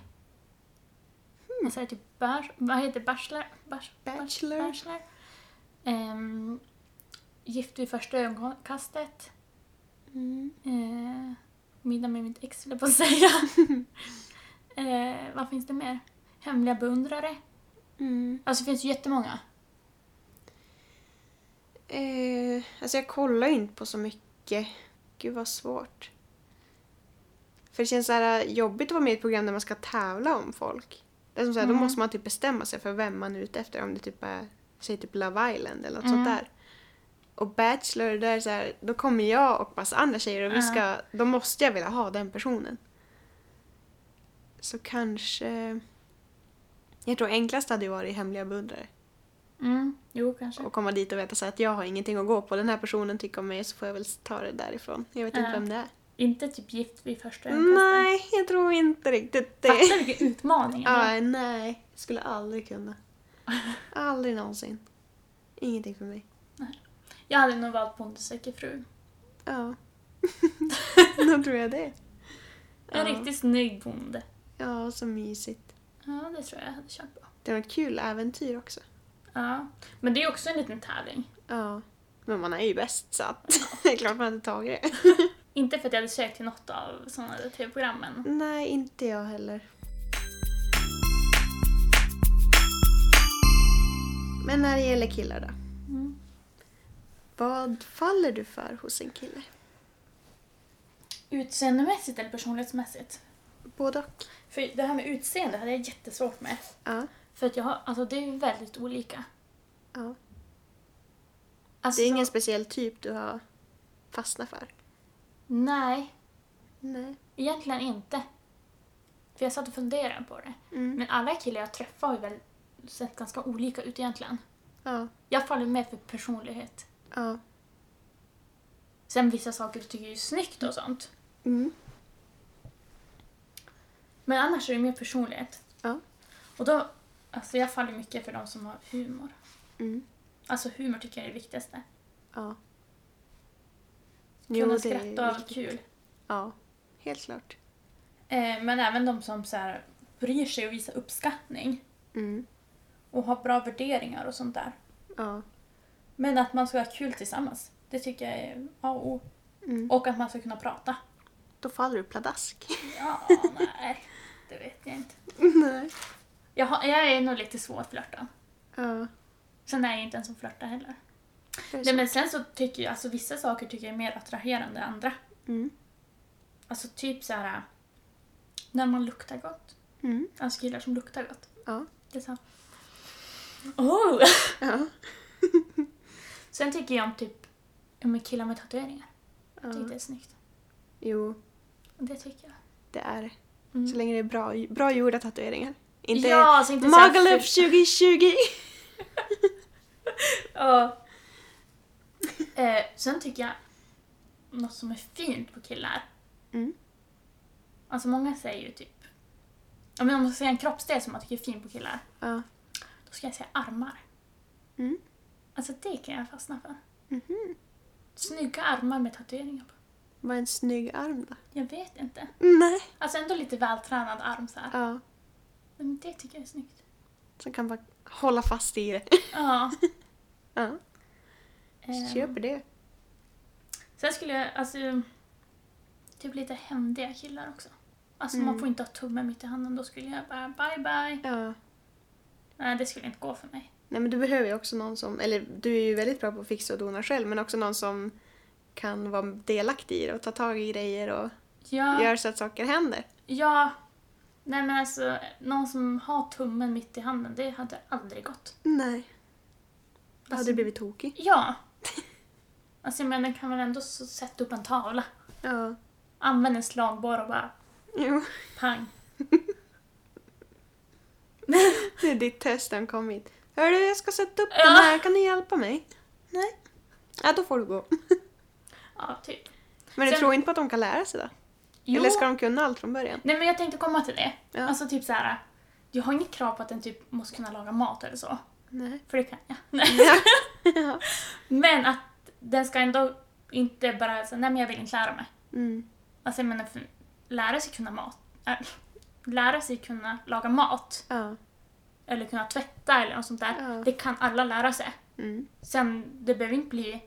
[SPEAKER 2] Man säger typ bär, vad heter det? Bachelor? Bars,
[SPEAKER 1] Bachelor.
[SPEAKER 2] bachelor. Ehm, gift vid första ögonkastet.
[SPEAKER 1] Mm.
[SPEAKER 2] Eh, middag med mitt ex höll jag på att säga. eh, vad finns det mer? Hemliga beundrare.
[SPEAKER 1] Mm.
[SPEAKER 2] Alltså det finns ju jättemånga.
[SPEAKER 1] Eh, alltså jag kollar ju inte på så mycket. Gud vad svårt. För det känns så här äh, jobbigt att vara med i ett program där man ska tävla om folk. Det är som så här, Då
[SPEAKER 2] Mm.
[SPEAKER 1] måste man typ bestämma sig för vem man är ute efter. Om det typ är, säg typ Love Island eller något
[SPEAKER 2] Mm.
[SPEAKER 1] sånt där. Och Bachelor, där är så här, då kommer jag och massa andra tjejer och vi
[SPEAKER 2] Ja.
[SPEAKER 1] ska, då måste jag vilja ha den personen. Så kanske... Jag tror enklast hade ju varit Hemliga beundrare.
[SPEAKER 2] Mm, jo kanske.
[SPEAKER 1] Och komma dit och veta så här att jag har ingenting att gå på. Den här personen tycker om mig så får jag väl ta det därifrån. Jag vet inte
[SPEAKER 2] Ja.
[SPEAKER 1] vem det är.
[SPEAKER 2] Inte typ gift vid första ögonkastet.
[SPEAKER 1] Nej, jag tror inte riktigt det.
[SPEAKER 2] Fattar vilken utmaning ändå.
[SPEAKER 1] Aj, nej, skulle aldrig kunna. Aldrig någonsin. Ingenting för mig.
[SPEAKER 2] Jag hade nog valt Pontus söker fru.
[SPEAKER 1] Ja. Då tror jag det.
[SPEAKER 2] En
[SPEAKER 1] Ja.
[SPEAKER 2] riktigt snygg bonde.
[SPEAKER 1] Ja, så mysigt.
[SPEAKER 2] Ja, det tror jag jag hade kört på.
[SPEAKER 1] Det var ett kul äventyr också.
[SPEAKER 2] Ja. Men det är också en liten tävling.
[SPEAKER 1] Ja. Men man är ju bäst så att det är klart man hade tagit det.
[SPEAKER 2] Inte för att jag hade sökt till något av sådana där tv-program, men
[SPEAKER 1] Nej, inte jag heller. Men när det gäller killar då?
[SPEAKER 2] mm.
[SPEAKER 1] Vad faller du för hos en kille?
[SPEAKER 2] utseendemässigt eller personlighetsmässigt.
[SPEAKER 1] Både och.
[SPEAKER 2] För det här med utseende hade jag jättesvårt med.
[SPEAKER 1] Ja.
[SPEAKER 2] För att jag har, alltså det är ju väldigt olika.
[SPEAKER 1] ja.
[SPEAKER 2] Alltså,
[SPEAKER 1] Det är ingen speciell typ du har fastnat för?
[SPEAKER 2] Nej,
[SPEAKER 1] Nej.
[SPEAKER 2] egentligen inte. För jag satt och funderade på det.
[SPEAKER 1] Mm.
[SPEAKER 2] Men alla killar jag träffar har ju väl sett ganska olika ut egentligen.
[SPEAKER 1] Ja.
[SPEAKER 2] Jag faller med för personlighet.
[SPEAKER 1] Ja.
[SPEAKER 2] Sen vissa saker tycker jag är snyggt och sånt.
[SPEAKER 1] Mm.
[SPEAKER 2] Men annars är det mer personlighet.
[SPEAKER 1] Ja.
[SPEAKER 2] Och då, alltså jag faller mycket för de som har humor.
[SPEAKER 1] Mm.
[SPEAKER 2] Alltså humor tycker jag är det viktigaste.
[SPEAKER 1] Ja.
[SPEAKER 2] Kunna skratta och ha
[SPEAKER 1] viktigt.
[SPEAKER 2] kul.
[SPEAKER 1] Ja. Helt klart.
[SPEAKER 2] Eh, men även de som så här, bryr sig och visar uppskattning.
[SPEAKER 1] Mm.
[SPEAKER 2] Och har bra värderingar och sånt där.
[SPEAKER 1] Ja.
[SPEAKER 2] Men att man ska ha kul tillsammans. Det tycker jag är A och O.
[SPEAKER 1] Mm.
[SPEAKER 2] Och att man ska kunna prata.
[SPEAKER 1] Då faller du pladask.
[SPEAKER 2] Ja, nej. Det vet jag inte.
[SPEAKER 1] Nej.
[SPEAKER 2] Jag, har, jag är nog lite svårflörtad.
[SPEAKER 1] Ja.
[SPEAKER 2] Sen är jag inte ens som flörtar heller.
[SPEAKER 1] det är
[SPEAKER 2] Nej,
[SPEAKER 1] så.
[SPEAKER 2] men sen så tycker jag, alltså vissa saker tycker jag är mer attraherande än andra.
[SPEAKER 1] Mm.
[SPEAKER 2] Alltså typ så här när man luktar gott.
[SPEAKER 1] Mm.
[SPEAKER 2] Alltså killar som luktar gott.
[SPEAKER 1] Ja.
[SPEAKER 2] Det är så. Oh!
[SPEAKER 1] Ja.
[SPEAKER 2] Sen tycker jag om typ ja, men killar med tatueringar. Jag tycker
[SPEAKER 1] ja.
[SPEAKER 2] det är snyggt.
[SPEAKER 1] Jo,
[SPEAKER 2] Det tycker jag.
[SPEAKER 1] det är det.
[SPEAKER 2] Mm.
[SPEAKER 1] Så länge det är bra, bra gjorda tatueringar. Inte
[SPEAKER 2] ja, så inte så här
[SPEAKER 1] Magaluf 2020!
[SPEAKER 2] Ja. Eh, sen tycker jag något som är fint på killar.
[SPEAKER 1] Mm.
[SPEAKER 2] Alltså många säger ju typ... Ja, men Om man ska säga en kroppsdel som man tycker är fin på killar,
[SPEAKER 1] Ja.
[SPEAKER 2] då ska jag säga armar.
[SPEAKER 1] Mm.
[SPEAKER 2] Alltså det kan jag fastna för.
[SPEAKER 1] Mhm.
[SPEAKER 2] Snygga armar med tatueringar på.
[SPEAKER 1] Vad är en snygg arm då?
[SPEAKER 2] Jag vet inte.
[SPEAKER 1] Nej.
[SPEAKER 2] Alltså ändå lite vältränad arm så här.
[SPEAKER 1] Ja.
[SPEAKER 2] Men det tycker jag är snyggt.
[SPEAKER 1] Som kan bara hålla fast i det.
[SPEAKER 2] Ja.
[SPEAKER 1] Ja. Eh.
[SPEAKER 2] ehm,
[SPEAKER 1] Köper det.
[SPEAKER 2] Sen skulle jag, alltså... Typ lite händiga killar också. Alltså
[SPEAKER 1] Mm.
[SPEAKER 2] man får inte ha tummen mitt i handen, då skulle jag bara bye bye.
[SPEAKER 1] Ja.
[SPEAKER 2] Nej, det skulle inte gå för mig.
[SPEAKER 1] Nej men du behöver ju också någon som, eller du är ju väldigt bra på att fixa och dona själv men också någon som kan vara delaktig i det och ta tag i grejer och
[SPEAKER 2] Ja,
[SPEAKER 1] göra så att saker händer.
[SPEAKER 2] ja. Nej men alltså, någon som har tummen mitt i handen, det hade aldrig gått.
[SPEAKER 1] Nej. Då hade
[SPEAKER 2] Alltså-
[SPEAKER 1] du blivit tokig.
[SPEAKER 2] Ja! Alltså jag menar, den kan väl ändå så sätta upp en tavla.
[SPEAKER 1] Ja.
[SPEAKER 2] Använd en slagborr och bara
[SPEAKER 1] Jo.
[SPEAKER 2] pang.
[SPEAKER 1] Det är ditt test när han kom hit. Hörru, jag ska sätta upp
[SPEAKER 2] Ja.
[SPEAKER 1] den här, kan ni hjälpa mig? Nej. Ja, då får du gå.
[SPEAKER 2] Ja, typ.
[SPEAKER 1] Men du
[SPEAKER 2] Sen-
[SPEAKER 1] tror inte på att de kan lära sig då?
[SPEAKER 2] Jo.
[SPEAKER 1] Eller ska de kunna allt från början?
[SPEAKER 2] Nej men jag tänkte komma till det.
[SPEAKER 1] Ja.
[SPEAKER 2] Alltså typ så här. jag har inget krav på att den typ måste kunna laga mat eller så.
[SPEAKER 1] Nej.
[SPEAKER 2] För det kan jag. Nej.
[SPEAKER 1] Ja. ja.
[SPEAKER 2] Men att den ska ändå inte bara säga nej men jag vill inte lära mig.
[SPEAKER 1] Mm.
[SPEAKER 2] Alltså jag menar, för, lära sig kunna mat. äh, Lära sig kunna laga mat
[SPEAKER 1] Ja.
[SPEAKER 2] eller kunna tvätta eller något sånt där.
[SPEAKER 1] Ja.
[SPEAKER 2] Det kan alla lära sig.
[SPEAKER 1] Mm.
[SPEAKER 2] Sen, det behöver inte bli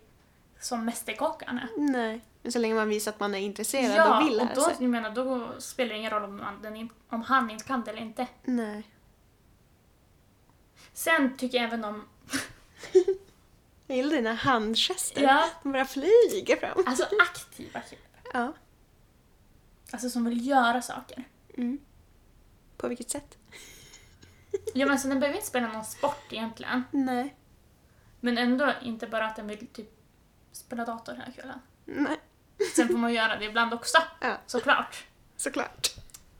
[SPEAKER 2] som Mästerkockarna. är.
[SPEAKER 1] Nej. Men så länge man visar att man är intresserad och vill lära
[SPEAKER 2] och då,
[SPEAKER 1] sig.
[SPEAKER 2] jag menar, då spelar det ingen roll om, man, den, in- om han inte kan det eller inte.
[SPEAKER 1] Nej.
[SPEAKER 2] Sen tycker jag även om...
[SPEAKER 1] Jag gillar dina handgester.
[SPEAKER 2] Ja,
[SPEAKER 1] De bara flyger fram.
[SPEAKER 2] alltså aktiva killar.
[SPEAKER 1] Ja.
[SPEAKER 2] Alltså som vill göra saker.
[SPEAKER 1] Mm. På vilket sätt?
[SPEAKER 2] Ja, men så den behöver inte spela någon sport egentligen.
[SPEAKER 1] Nej.
[SPEAKER 2] Men ändå inte bara att den vill typ spela dator hela kvällen.
[SPEAKER 1] Nej.
[SPEAKER 2] Sen får man göra det ibland också,
[SPEAKER 1] Ja.
[SPEAKER 2] såklart.
[SPEAKER 1] Såklart.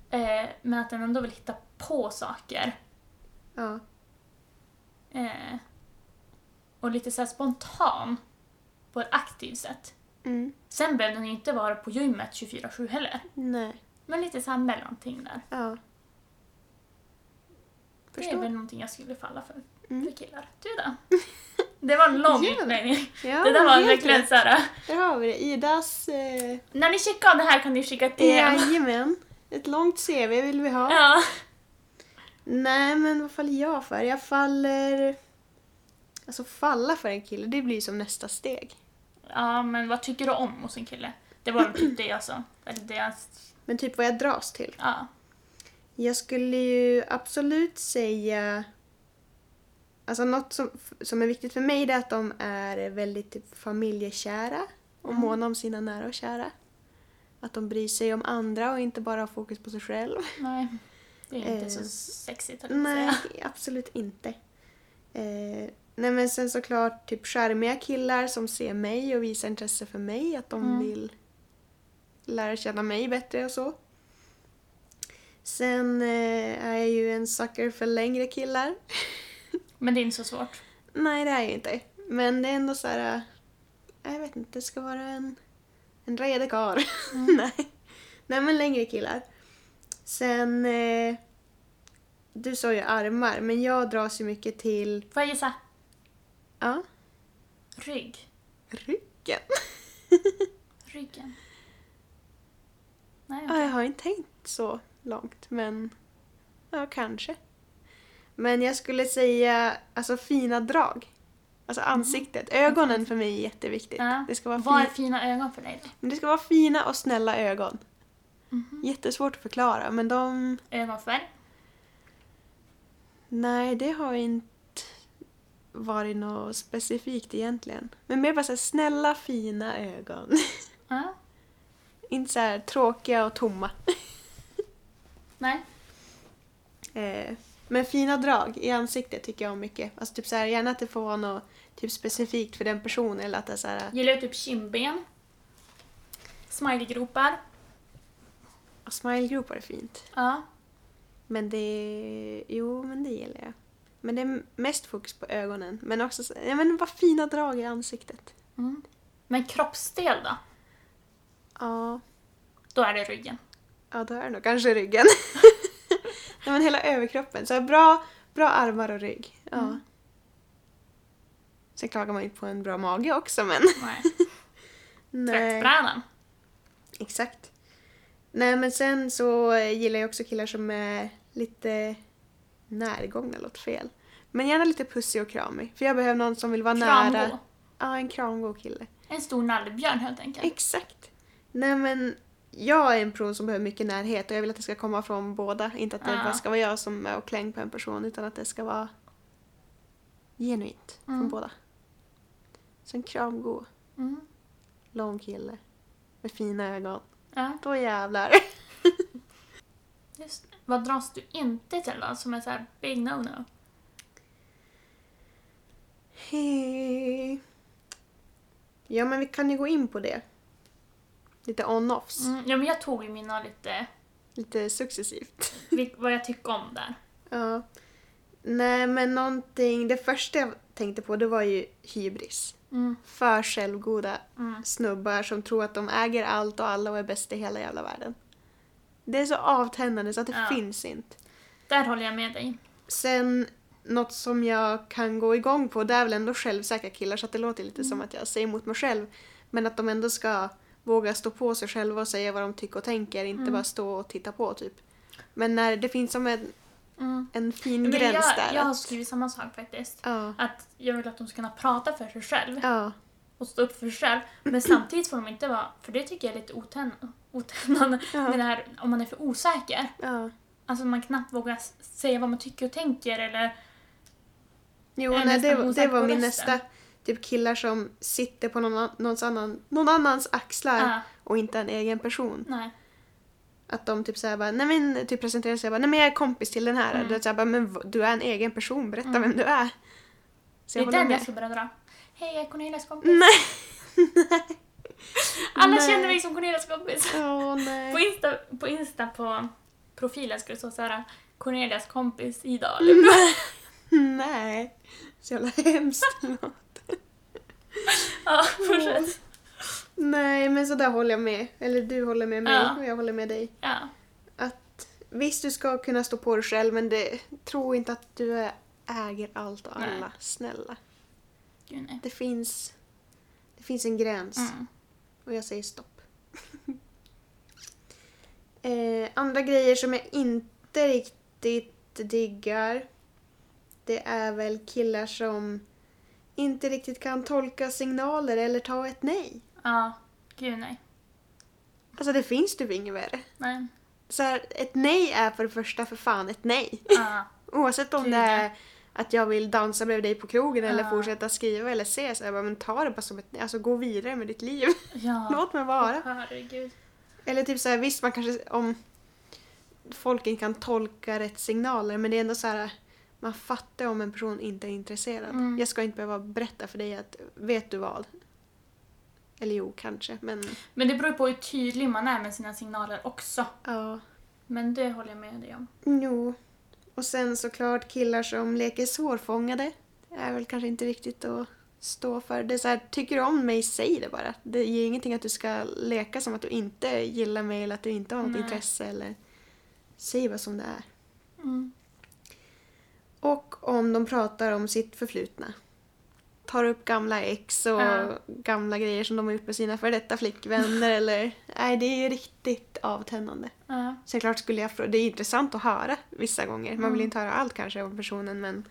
[SPEAKER 2] Eh, men att den ändå vill hitta på saker.
[SPEAKER 1] Ja.
[SPEAKER 2] Eh, och lite så här spontan. På ett aktivt sätt.
[SPEAKER 1] Mm.
[SPEAKER 2] Sen behöver den ju inte vara på gymmet 24-7 heller.
[SPEAKER 1] Nej.
[SPEAKER 2] Men lite så här mellanting där.
[SPEAKER 1] Ja.
[SPEAKER 2] Det är
[SPEAKER 1] Förstår.
[SPEAKER 2] väl någonting jag skulle falla för.
[SPEAKER 1] Mm.
[SPEAKER 2] För killar. Du då? Det var en lång
[SPEAKER 1] Ja.
[SPEAKER 2] utläggning.
[SPEAKER 1] Ja,
[SPEAKER 2] det där var
[SPEAKER 1] helt
[SPEAKER 2] verkligen
[SPEAKER 1] rätt.
[SPEAKER 2] såhär...
[SPEAKER 1] Där har vi det. Idas... Eh,
[SPEAKER 2] När ni checkar av det här kan ni skicka ett DM.
[SPEAKER 1] jajamän. Ett långt CV vill vi ha.
[SPEAKER 2] Ja.
[SPEAKER 1] Nej, men vad faller jag för? Jag faller... Alltså falla för en kille, det blir ju som nästa steg.
[SPEAKER 2] ja, men vad tycker du om hos en kille? Det var typ det jag sa. Eller det jag...
[SPEAKER 1] Men typ vad jag dras till.
[SPEAKER 2] Ja.
[SPEAKER 1] Jag skulle ju absolut säga... Alltså något som, som är viktigt för mig det är att de är väldigt typ, familjekära och
[SPEAKER 2] Mm.
[SPEAKER 1] måna om sina nära och kära. Att de bryr sig om andra och inte bara har fokus på sig själv.
[SPEAKER 2] Nej. Det är inte
[SPEAKER 1] Eh,
[SPEAKER 2] så sexigt att
[SPEAKER 1] Nej,
[SPEAKER 2] säga.
[SPEAKER 1] absolut inte. Eh, nej men sen såklart typ charmiga killar som ser mig och visar intresse för mig, att de
[SPEAKER 2] Mm.
[SPEAKER 1] vill lära känna mig bättre och så. Sen eh, är jag ju en sucker för längre killar.
[SPEAKER 2] Men det är inte så svårt.
[SPEAKER 1] Nej, det är jag inte. Men det är ändå så här... eh, Jag vet inte, det ska vara en, en redig karl. Nej. Nej, men längre killar. Sen... Eh, du sa ju armar, men jag dras ju mycket till...
[SPEAKER 2] Får jag gissa?
[SPEAKER 1] Ja,
[SPEAKER 2] Rygg.
[SPEAKER 1] ryggen.
[SPEAKER 2] Ryggen. Nej,
[SPEAKER 1] Ja,
[SPEAKER 2] okej.
[SPEAKER 1] jag har inte tänkt så långt, men... Ja, kanske. Men jag skulle säga alltså fina drag. Alltså ansiktet. Ögonen för mig är jätteviktigt.
[SPEAKER 2] Ja.
[SPEAKER 1] Det, ska vara
[SPEAKER 2] Vad är
[SPEAKER 1] fin-
[SPEAKER 2] fina ögon för dig då? Mhm.
[SPEAKER 1] men det ska vara fina och snälla ögon. Jättesvårt att förklara men de...
[SPEAKER 2] Ögonfärg?
[SPEAKER 1] Nej, det har inte varit något specifikt egentligen. Men mer bara så här, snälla fina ögon.
[SPEAKER 2] Ja.
[SPEAKER 1] inte så här tråkiga och tomma.
[SPEAKER 2] Nej.
[SPEAKER 1] Eh, men fina drag i ansiktet tycker jag om mycket. Alltså typ så här, gärna att det får vara något typ specifikt för den personen eller att det är så här,
[SPEAKER 2] Gillar du typ kindben? Smileygropar?
[SPEAKER 1] och smilegropar är fint.
[SPEAKER 2] Ja.
[SPEAKER 1] Men det... Jo, men det gillar jag. Men det är mest fokus på ögonen. Men också så- ja, men vad fina drag i ansiktet.
[SPEAKER 2] Mm. Men kroppsdel då?
[SPEAKER 1] Ja,
[SPEAKER 2] Då är det ryggen.
[SPEAKER 1] ja då är det nog kanske ryggen. Nej, men hela överkroppen. Så här, bra, bra armar och rygg. Ja.
[SPEAKER 2] Mm.
[SPEAKER 1] Sen klagar man ju på en bra mage också, men...
[SPEAKER 2] Nej.
[SPEAKER 1] Nej.
[SPEAKER 2] Tvättbrädan?
[SPEAKER 1] Exakt. Nej, men sen så eh, gillar jag också killar som är lite närgångna, låter fel. Men gärna lite pussig och kramig. För jag behöver någon som vill vara nära.
[SPEAKER 2] Kramgå?
[SPEAKER 1] Ja, en kramgod kille.
[SPEAKER 2] En stor nallebjörn helt enkelt.
[SPEAKER 1] Exakt. Nej men jag är en person som behöver mycket närhet och jag vill att det ska komma från båda. Inte att det
[SPEAKER 2] Ja.
[SPEAKER 1] bara ska vara jag som är och kläng på en person utan att det ska vara genuint
[SPEAKER 2] Mm.
[SPEAKER 1] från båda. Så en kramgod,
[SPEAKER 2] Mm.
[SPEAKER 1] lång kille med fina ögon.
[SPEAKER 2] Ja,
[SPEAKER 1] Då jävlar.
[SPEAKER 2] just det. Vad dras du inte till då som är såhär big no-no?
[SPEAKER 1] Hej. ja men vi kan ju gå in på det. Lite on-offs.
[SPEAKER 2] Mm, ja, men jag tog ju mina lite,
[SPEAKER 1] Lite successivt.
[SPEAKER 2] vil- vad jag tycker om där.
[SPEAKER 1] Ja. Nej men någonting, det första jag tänkte på det var ju hybris.
[SPEAKER 2] Mm,
[SPEAKER 1] för självgoda
[SPEAKER 2] mm.
[SPEAKER 1] snubbar som tror att de äger allt och alla och är bäst i hela jävla världen. Det är så avtändande så att det
[SPEAKER 2] Ja.
[SPEAKER 1] finns inte.
[SPEAKER 2] Där håller jag med dig.
[SPEAKER 1] Sen något som jag kan gå igång på det är väl ändå självsäkra killar så att det låter lite
[SPEAKER 2] Mm.
[SPEAKER 1] som att jag säger emot mig själv. Men att de ändå ska våga stå på sig själva och säga vad de tycker och tänker, inte
[SPEAKER 2] Mm.
[SPEAKER 1] bara stå och titta på typ. Men när det finns som en,
[SPEAKER 2] Mm.
[SPEAKER 1] en fin
[SPEAKER 2] Men
[SPEAKER 1] gräns
[SPEAKER 2] jag,
[SPEAKER 1] där.
[SPEAKER 2] jag har
[SPEAKER 1] att-
[SPEAKER 2] skrivit samma sak faktiskt.
[SPEAKER 1] ja.
[SPEAKER 2] Att jag vill att de ska kunna prata för sig själv
[SPEAKER 1] ja.
[SPEAKER 2] och stå upp för sig själv. Men samtidigt får de inte vara, för det tycker jag är lite otän- otännande,
[SPEAKER 1] Ja.
[SPEAKER 2] med det här om man är för osäker.
[SPEAKER 1] ja.
[SPEAKER 2] Alltså man knappt vågar s- säga vad man tycker och tänker eller...
[SPEAKER 1] Jo,
[SPEAKER 2] Jag
[SPEAKER 1] nej,
[SPEAKER 2] är nästan
[SPEAKER 1] det, var- det
[SPEAKER 2] osäker
[SPEAKER 1] var
[SPEAKER 2] på
[SPEAKER 1] min
[SPEAKER 2] resten.
[SPEAKER 1] nästa. Typ killar som sitter på någon, an- någons annan, någon annans axlar
[SPEAKER 2] Ah,
[SPEAKER 1] och inte en egen person.
[SPEAKER 2] nej.
[SPEAKER 1] Att de typ såhär bara, nej men typ presenterar sig och bara, nej men jag är kompis till den här.
[SPEAKER 2] Mm.
[SPEAKER 1] Mm. Du, såhär, bara, men v- du är en egen person, berätta vem du är. Så
[SPEAKER 2] Det är
[SPEAKER 1] jag håller
[SPEAKER 2] den jag
[SPEAKER 1] med.
[SPEAKER 2] ska börja dra. Hej, jag är Cornelias kompis.
[SPEAKER 1] Nej!
[SPEAKER 2] Alla
[SPEAKER 1] nej.
[SPEAKER 2] känner mig som Cornelias kompis.
[SPEAKER 1] Åh
[SPEAKER 2] På
[SPEAKER 1] nej.
[SPEAKER 2] Insta, på Insta på profilen skulle det stå såhär Cornelias kompis idag.
[SPEAKER 1] nej. Nej. Så jävla hemskt.
[SPEAKER 2] Ja, fortsätt.
[SPEAKER 1] nej, men så där håller jag med. Eller du håller med mig
[SPEAKER 2] Ja.
[SPEAKER 1] och jag håller med dig.
[SPEAKER 2] Ja.
[SPEAKER 1] att visst du ska kunna stå på dig själv men det, tro inte att du är- äger allt och alla.
[SPEAKER 2] Nej.
[SPEAKER 1] Snälla.
[SPEAKER 2] Gud, nej.
[SPEAKER 1] Det finns, det finns en gräns
[SPEAKER 2] Mm.
[SPEAKER 1] och jag säger stopp. eh, andra grejer som jag inte riktigt diggar det är väl killar som inte riktigt kan tolka signaler eller ta ett nej.
[SPEAKER 2] Ja. Gud nej.
[SPEAKER 1] Alltså det finns typ inget värre.
[SPEAKER 2] Nej.
[SPEAKER 1] Så här, ett nej är för det första för fan ett nej.
[SPEAKER 2] Ja.
[SPEAKER 1] Oavsett om
[SPEAKER 2] Kul.
[SPEAKER 1] det är att jag vill dansa med dig på krogen
[SPEAKER 2] Ja.
[SPEAKER 1] eller fortsätta skriva eller ses. Jag bara, men ta det bara som ett Alltså gå vidare med ditt liv.
[SPEAKER 2] ja.
[SPEAKER 1] Låt mig vara.
[SPEAKER 2] Herregud.
[SPEAKER 1] Eller typ så här, visst man kanske om folk inte kan tolka rätt signaler men det är ändå så här man fattar om en person inte är intresserad.
[SPEAKER 2] Mm.
[SPEAKER 1] Jag ska inte behöva berätta för dig att vet du vad? Eller jo, kanske, men
[SPEAKER 2] Men det beror på hur tydlig man är med sina signaler också.
[SPEAKER 1] ja.
[SPEAKER 2] Men det håller jag med dig om.
[SPEAKER 1] Jo. Och sen såklart killar som leker svårfångade. Det är väl kanske inte riktigt att stå för. Det är så här, tycker du om mig, säg det bara. Det ger ingenting att du ska leka som att du inte gillar mig eller att du inte har något
[SPEAKER 2] Nej.
[SPEAKER 1] intresse eller... Säg vad som det är.
[SPEAKER 2] Mm.
[SPEAKER 1] Och om de pratar om sitt förflutna. Tar upp gamla ex och
[SPEAKER 2] Ja.
[SPEAKER 1] gamla grejer som de har gjort med sina före detta flickvänner eller... Nej, det är ju riktigt avtändande.
[SPEAKER 2] Ja.
[SPEAKER 1] Så klart skulle jag fråga, det är intressant att höra vissa gånger. Man
[SPEAKER 2] Mm.
[SPEAKER 1] vill inte höra allt kanske om personen men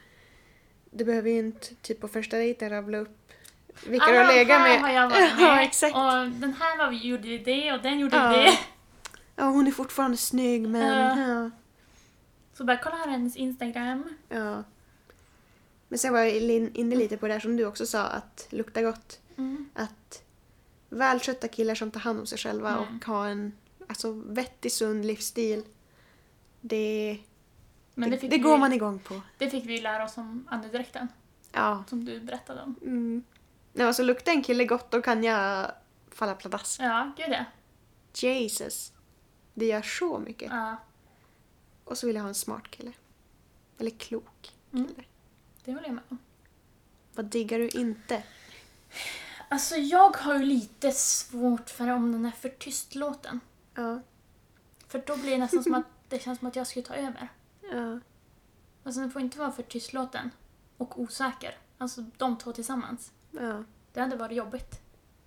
[SPEAKER 1] Du behöver ju inte typ på första dejten rabbla upp vilka
[SPEAKER 2] Alla
[SPEAKER 1] du har
[SPEAKER 2] de
[SPEAKER 1] legat
[SPEAKER 2] här
[SPEAKER 1] med.
[SPEAKER 2] har jag varit med.
[SPEAKER 1] Ja, exakt.
[SPEAKER 2] Och den här var, gjorde ju det och den gjorde
[SPEAKER 1] Ja.
[SPEAKER 2] det.
[SPEAKER 1] Ja, hon är fortfarande snygg men... Ja.
[SPEAKER 2] Så bara kolla här hennes Instagram.
[SPEAKER 1] Ja. Men sen var jag lin- inne lite på det här som du också sa, att lukta gott.
[SPEAKER 2] Mm.
[SPEAKER 1] Att välskötta killar som tar hand om sig själva
[SPEAKER 2] Mm.
[SPEAKER 1] och har en alltså, vettig, sund livsstil. Det,
[SPEAKER 2] Men det,
[SPEAKER 1] det,
[SPEAKER 2] fick
[SPEAKER 1] det
[SPEAKER 2] vi,
[SPEAKER 1] går man igång på.
[SPEAKER 2] det fick vi ju lära oss om andedräkten,
[SPEAKER 1] Ja.
[SPEAKER 2] som du berättade om.
[SPEAKER 1] Mm. Nej, alltså luktar en kille gott då kan jag falla pladask.
[SPEAKER 2] Ja, gud ja.
[SPEAKER 1] Jesus. Det gör så mycket.
[SPEAKER 2] ja.
[SPEAKER 1] Och så vill jag ha en smart kille. Eller klok kille.
[SPEAKER 2] Mm. Det håller jag med om.
[SPEAKER 1] Vad diggar du inte?
[SPEAKER 2] Alltså jag har ju lite svårt för om den är för tyst låten.
[SPEAKER 1] Ja.
[SPEAKER 2] För då blir det nästan som att det känns som att jag skulle ta över.
[SPEAKER 1] Ja.
[SPEAKER 2] Alltså den får inte vara för tystlåten och osäker. Alltså de två tillsammans.
[SPEAKER 1] ja.
[SPEAKER 2] Det hade varit jobbigt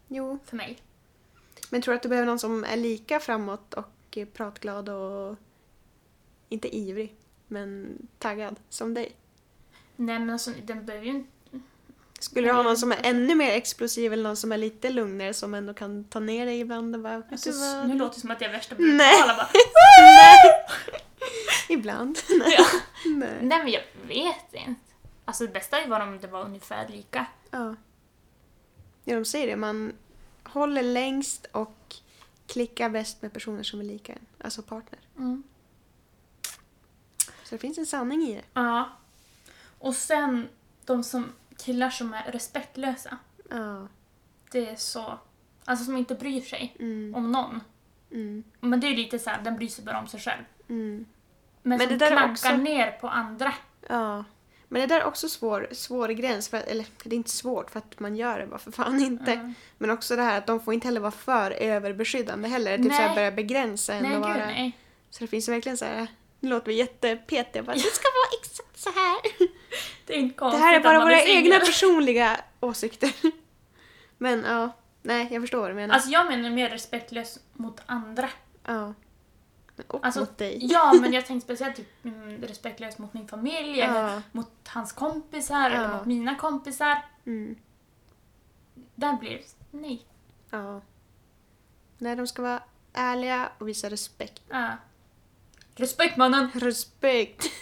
[SPEAKER 1] Jo.
[SPEAKER 2] för mig.
[SPEAKER 1] Men tror du att du behöver någon som är lika framåt och eh, pratglad och inte ivrig, men taggad som dig?
[SPEAKER 2] Nej men alltså den behöver ju inte...
[SPEAKER 1] Skulle du ha någon som är ännu mer explosiv eller någon som är lite lugnare som ändå kan ta ner dig ibland och bara... vet
[SPEAKER 2] Alltså,
[SPEAKER 1] du vad?
[SPEAKER 2] nu låter det som att jag är värsta
[SPEAKER 1] Nej.
[SPEAKER 2] brutala bara.
[SPEAKER 1] Nej! ibland. Nej.
[SPEAKER 2] Ja.
[SPEAKER 1] Nej.
[SPEAKER 2] Nej men jag vet inte. Alltså det bästa var om det var ungefär lika.
[SPEAKER 1] Ja. ja, de säger det. Man håller längst och klickar bäst med personer som är lika en. Alltså partner.
[SPEAKER 2] Mm.
[SPEAKER 1] Så det finns en sanning i det.
[SPEAKER 2] Ja. Och sen de som killar som är respektlösa.
[SPEAKER 1] Ja.
[SPEAKER 2] Det är så... Alltså som inte bryr sig
[SPEAKER 1] Mm.
[SPEAKER 2] om någon.
[SPEAKER 1] Mm.
[SPEAKER 2] Men det är ju lite så här, den bryr sig bara om sig själv.
[SPEAKER 1] Mm.
[SPEAKER 2] Men,
[SPEAKER 1] Men
[SPEAKER 2] som
[SPEAKER 1] det där är
[SPEAKER 2] klankar
[SPEAKER 1] också-
[SPEAKER 2] ner på andra.
[SPEAKER 1] Ja. Men det där är också svår, svår gräns. För att, eller det är inte svårt för att man gör det bara för fan inte.
[SPEAKER 2] Mm.
[SPEAKER 1] Men också det här att de får inte heller vara för överbeskyddande heller. Typ
[SPEAKER 2] Nej.
[SPEAKER 1] såhär börja begränsa en
[SPEAKER 2] Nej,
[SPEAKER 1] och
[SPEAKER 2] gud
[SPEAKER 1] vara...
[SPEAKER 2] nej.
[SPEAKER 1] Så det finns ju verkligen så här. Nu låter vi jättepetiga. Bara, det ska vara exakt så här.
[SPEAKER 2] Det är inte
[SPEAKER 1] Det
[SPEAKER 2] konstigt
[SPEAKER 1] här är
[SPEAKER 2] att
[SPEAKER 1] bara
[SPEAKER 2] man
[SPEAKER 1] våra
[SPEAKER 2] singel.
[SPEAKER 1] egna personliga åsikter. Men ja, nej jag förstår vad du menar.
[SPEAKER 2] Alltså jag menar mer respektlös mot andra.
[SPEAKER 1] ja. Men och
[SPEAKER 2] Alltså,
[SPEAKER 1] mot dig.
[SPEAKER 2] Ja, men jag tänkte speciellt typ mm, respektlös mot min familj, eller
[SPEAKER 1] Ja.
[SPEAKER 2] mot hans kompisar, eller
[SPEAKER 1] Ja.
[SPEAKER 2] mot mina kompisar.
[SPEAKER 1] Mm,
[SPEAKER 2] Där blir det nej.
[SPEAKER 1] ja. Nej, de ska vara ärliga och visa respekt.
[SPEAKER 2] Ja. Respekt mannen!
[SPEAKER 1] Respekt.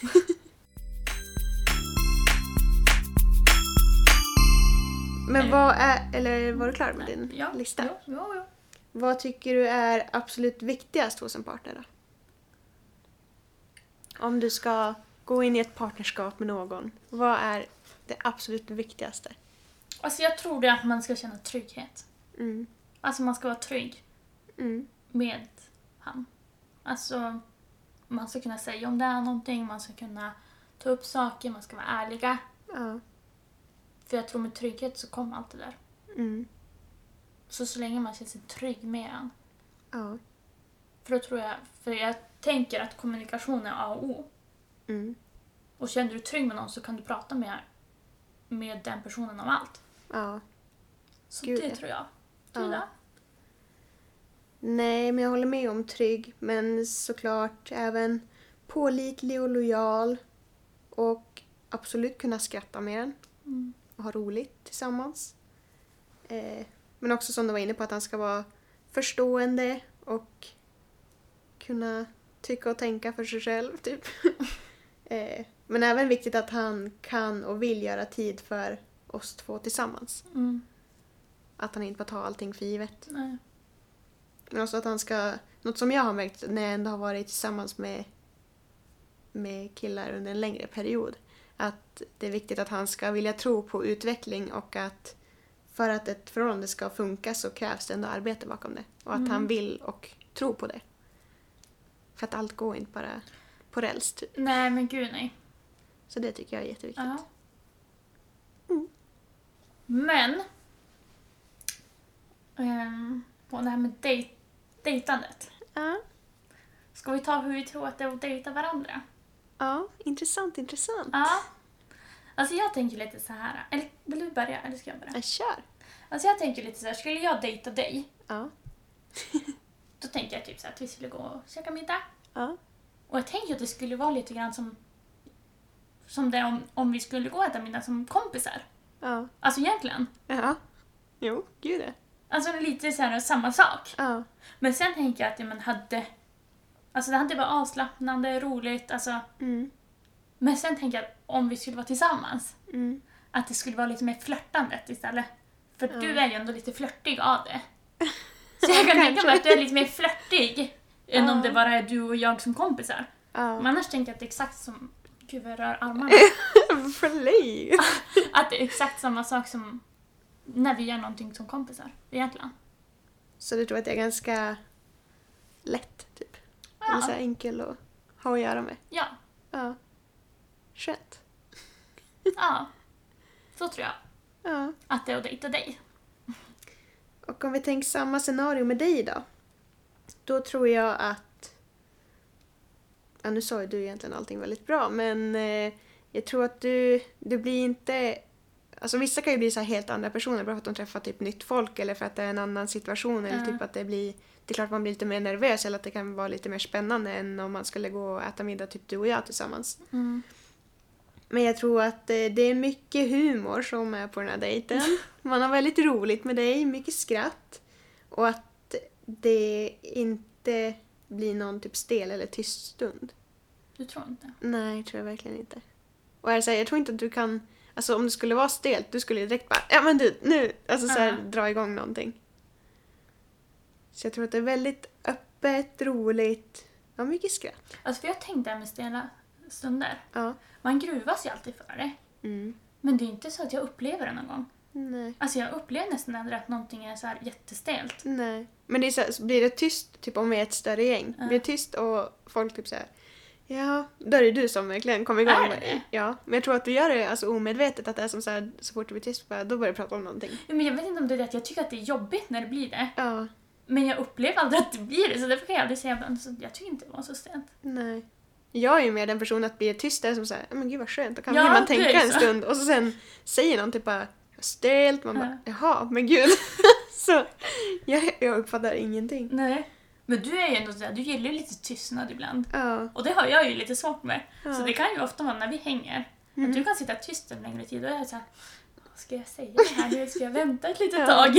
[SPEAKER 1] Men vad är, eller var du klar med din
[SPEAKER 2] ja,
[SPEAKER 1] lista?
[SPEAKER 2] Ja, ja, ja.
[SPEAKER 1] Vad tycker du är absolut viktigast hos en partner då? Om du ska gå in i ett partnerskap med någon, vad är det absolut viktigaste?
[SPEAKER 2] Alltså jag tror det att man ska känna trygghet.
[SPEAKER 1] Mm.
[SPEAKER 2] Alltså man ska vara trygg
[SPEAKER 1] Mm.
[SPEAKER 2] med han. Alltså man ska kunna säga om det är någonting, man ska kunna ta upp saker, man ska vara ärliga.
[SPEAKER 1] Ja.
[SPEAKER 2] För jag tror med trygghet så kommer allt det där.
[SPEAKER 1] Mm.
[SPEAKER 2] Så så länge man känner sig trygg med han.
[SPEAKER 1] Ja.
[SPEAKER 2] För då tror jag, för jag tänker att kommunikation är A och O.
[SPEAKER 1] Mm.
[SPEAKER 2] Och känner du dig trygg med någon så kan du prata med, med den personen om allt.
[SPEAKER 1] Ja.
[SPEAKER 2] Så
[SPEAKER 1] Gud,
[SPEAKER 2] det
[SPEAKER 1] ja.
[SPEAKER 2] tror jag.
[SPEAKER 1] Ja.
[SPEAKER 2] Du då?
[SPEAKER 1] Nej, men jag håller med om trygg, men såklart även pålitlig och lojal och absolut kunna skratta med den
[SPEAKER 2] Mm.
[SPEAKER 1] och ha roligt tillsammans. Eh, men också som du var inne på att han ska vara förstående och kunna tycka och tänka för sig själv. Typ. eh, men även viktigt att han kan och vill göra tid för oss två tillsammans.
[SPEAKER 2] Mm.
[SPEAKER 1] Att han inte bara tar allting för givet.
[SPEAKER 2] Nej.
[SPEAKER 1] Men också Alltså att han ska... Något som jag har märkt när jag ändå har varit tillsammans med, med killar under en längre period. Att det är viktigt att han ska vilja tro på utveckling och att för att ett förhållande ska funka så krävs det ändå arbete bakom det. Och att
[SPEAKER 2] Mm.
[SPEAKER 1] han vill och tror på det. För att allt går inte bara på räls. typ.
[SPEAKER 2] nej, men gud nej.
[SPEAKER 1] Så det tycker jag är jätteviktigt.
[SPEAKER 2] Ja.
[SPEAKER 1] Mm.
[SPEAKER 2] Men... Um, och det här med dej- dejtandet.
[SPEAKER 1] Ja.
[SPEAKER 2] Ska vi ta hur vi tror att det är att dejta varandra?
[SPEAKER 1] ja, intressant, intressant.
[SPEAKER 2] Ja. Alltså jag tänker lite så här. Eller vill du börja eller ska jag börja?
[SPEAKER 1] Ja, kör.
[SPEAKER 2] Alltså jag tänker lite så här. skulle jag dejta dig,
[SPEAKER 1] Ja.
[SPEAKER 2] då tänker jag typ så här att vi skulle gå och käka middag.
[SPEAKER 1] Ja.
[SPEAKER 2] Och jag tänker att det skulle vara lite grann som som det är om, om vi skulle gå och äta middag som kompisar.
[SPEAKER 1] Ja.
[SPEAKER 2] Alltså egentligen.
[SPEAKER 1] Ja. Jo, gud ja.
[SPEAKER 2] Alltså det är lite så här samma sak.
[SPEAKER 1] Ja.
[SPEAKER 2] Men sen tänker jag att ja, men hade... Alltså det hade varit avslappnande, roligt, alltså.
[SPEAKER 1] Mm.
[SPEAKER 2] Men sen tänker jag att om vi skulle vara tillsammans,
[SPEAKER 1] Mm.
[SPEAKER 2] att det skulle vara lite mer flörtandet istället. För
[SPEAKER 1] Ja.
[SPEAKER 2] du är ju ändå lite flörtig av det. Så jag kan tänka mig att du är lite mer flörtig än
[SPEAKER 1] Ja.
[SPEAKER 2] om det bara är du och jag som kompisar. Men
[SPEAKER 1] Ja.
[SPEAKER 2] annars tänker jag att det är exakt som... Gud vad jag rör armarna.
[SPEAKER 1] Förlej!
[SPEAKER 2] Att det är exakt samma sak som när vi gör någonting som kompisar egentligen.
[SPEAKER 1] Så du tror att jag är ganska lätt, typ? Eller så
[SPEAKER 2] Ja.
[SPEAKER 1] här enkel att ha att göra med?
[SPEAKER 2] ja.
[SPEAKER 1] Ja. Skönt.
[SPEAKER 2] Ja. Så tror jag.
[SPEAKER 1] Ja.
[SPEAKER 2] Att det är att dejta dig.
[SPEAKER 1] Och om vi tänker samma scenario med dig då? Då tror jag att... Ja, nu sa ju du egentligen allting väldigt bra, men eh, jag tror att du, du blir inte... Alltså vissa kan ju bli så här helt andra personer bara för att de träffar typ nytt folk eller för att det är en annan situation eller
[SPEAKER 2] Ja.
[SPEAKER 1] typ att det blir... Det är klart man blir lite mer nervös eller att det kan vara lite mer spännande än om man skulle gå och äta middag typ du och jag tillsammans. Men jag tror att eh, det är mycket humor som är på den här dejten. Man har väldigt roligt med dig, mycket skratt. Och att det inte blir någon typ stel eller tyst stund.
[SPEAKER 2] Du tror inte?
[SPEAKER 1] Nej, tror jag verkligen inte. Och jag, säger, jag tror inte att du kan... Alltså om det skulle vara stelt, du skulle ju direkt bara ja men du, nu! Alltså så här,
[SPEAKER 2] Aha.
[SPEAKER 1] dra igång någonting. Så jag tror att det är väldigt öppet, roligt, ja mycket skratt.
[SPEAKER 2] Alltså för jag tänkte det här med stela stunder.
[SPEAKER 1] Ja.
[SPEAKER 2] Man gruvas ju alltid för det.
[SPEAKER 1] Mm.
[SPEAKER 2] Men det är inte så att jag upplever det någon gång.
[SPEAKER 1] Nej.
[SPEAKER 2] Alltså jag upplever nästan aldrig att någonting är så här jättestelt.
[SPEAKER 1] Nej. Men det är så här, så blir det tyst, typ om vi är ett större gäng,
[SPEAKER 2] Ja.
[SPEAKER 1] blir det tyst och folk typ så här. Ja, då är det du som verkligen kommer igång.
[SPEAKER 2] Är det
[SPEAKER 1] med-
[SPEAKER 2] det?
[SPEAKER 1] Ja, men jag tror att du gör det alltså, omedvetet, att det är som så här, så fort det blir tyst, bara, då börjar du prata om någonting.
[SPEAKER 2] Ja, Men jag vet inte om det är det att jag tycker att det är jobbigt när det blir det.
[SPEAKER 1] Ja,
[SPEAKER 2] Men jag upplever aldrig att det blir det så därför kan jag aldrig säga att alltså, jag tycker inte det var så stelt.
[SPEAKER 1] nej. Jag är ju mer den personen att blir det tyst, det är som så här, men gud vad skönt, då kan
[SPEAKER 2] Ja,
[SPEAKER 1] man
[SPEAKER 2] det är
[SPEAKER 1] tänka en
[SPEAKER 2] så.
[SPEAKER 1] stund och så sen säger någon typ bara stelt, man bara jaha, men gud. så jag, jag uppfattar ingenting.
[SPEAKER 2] Nej. Men du är ju ändå sådär, du gillar ju lite tystnad ibland.
[SPEAKER 1] Ja,
[SPEAKER 2] Och det har jag ju lite svårt med.
[SPEAKER 1] ja.
[SPEAKER 2] Så det kan ju ofta vara när vi hänger.
[SPEAKER 1] Mm.
[SPEAKER 2] Att du kan sitta tyst en längre tid och jag är såhär, vad ska jag säga det här nu? Ska jag vänta ett litet
[SPEAKER 1] Ja.
[SPEAKER 2] tag?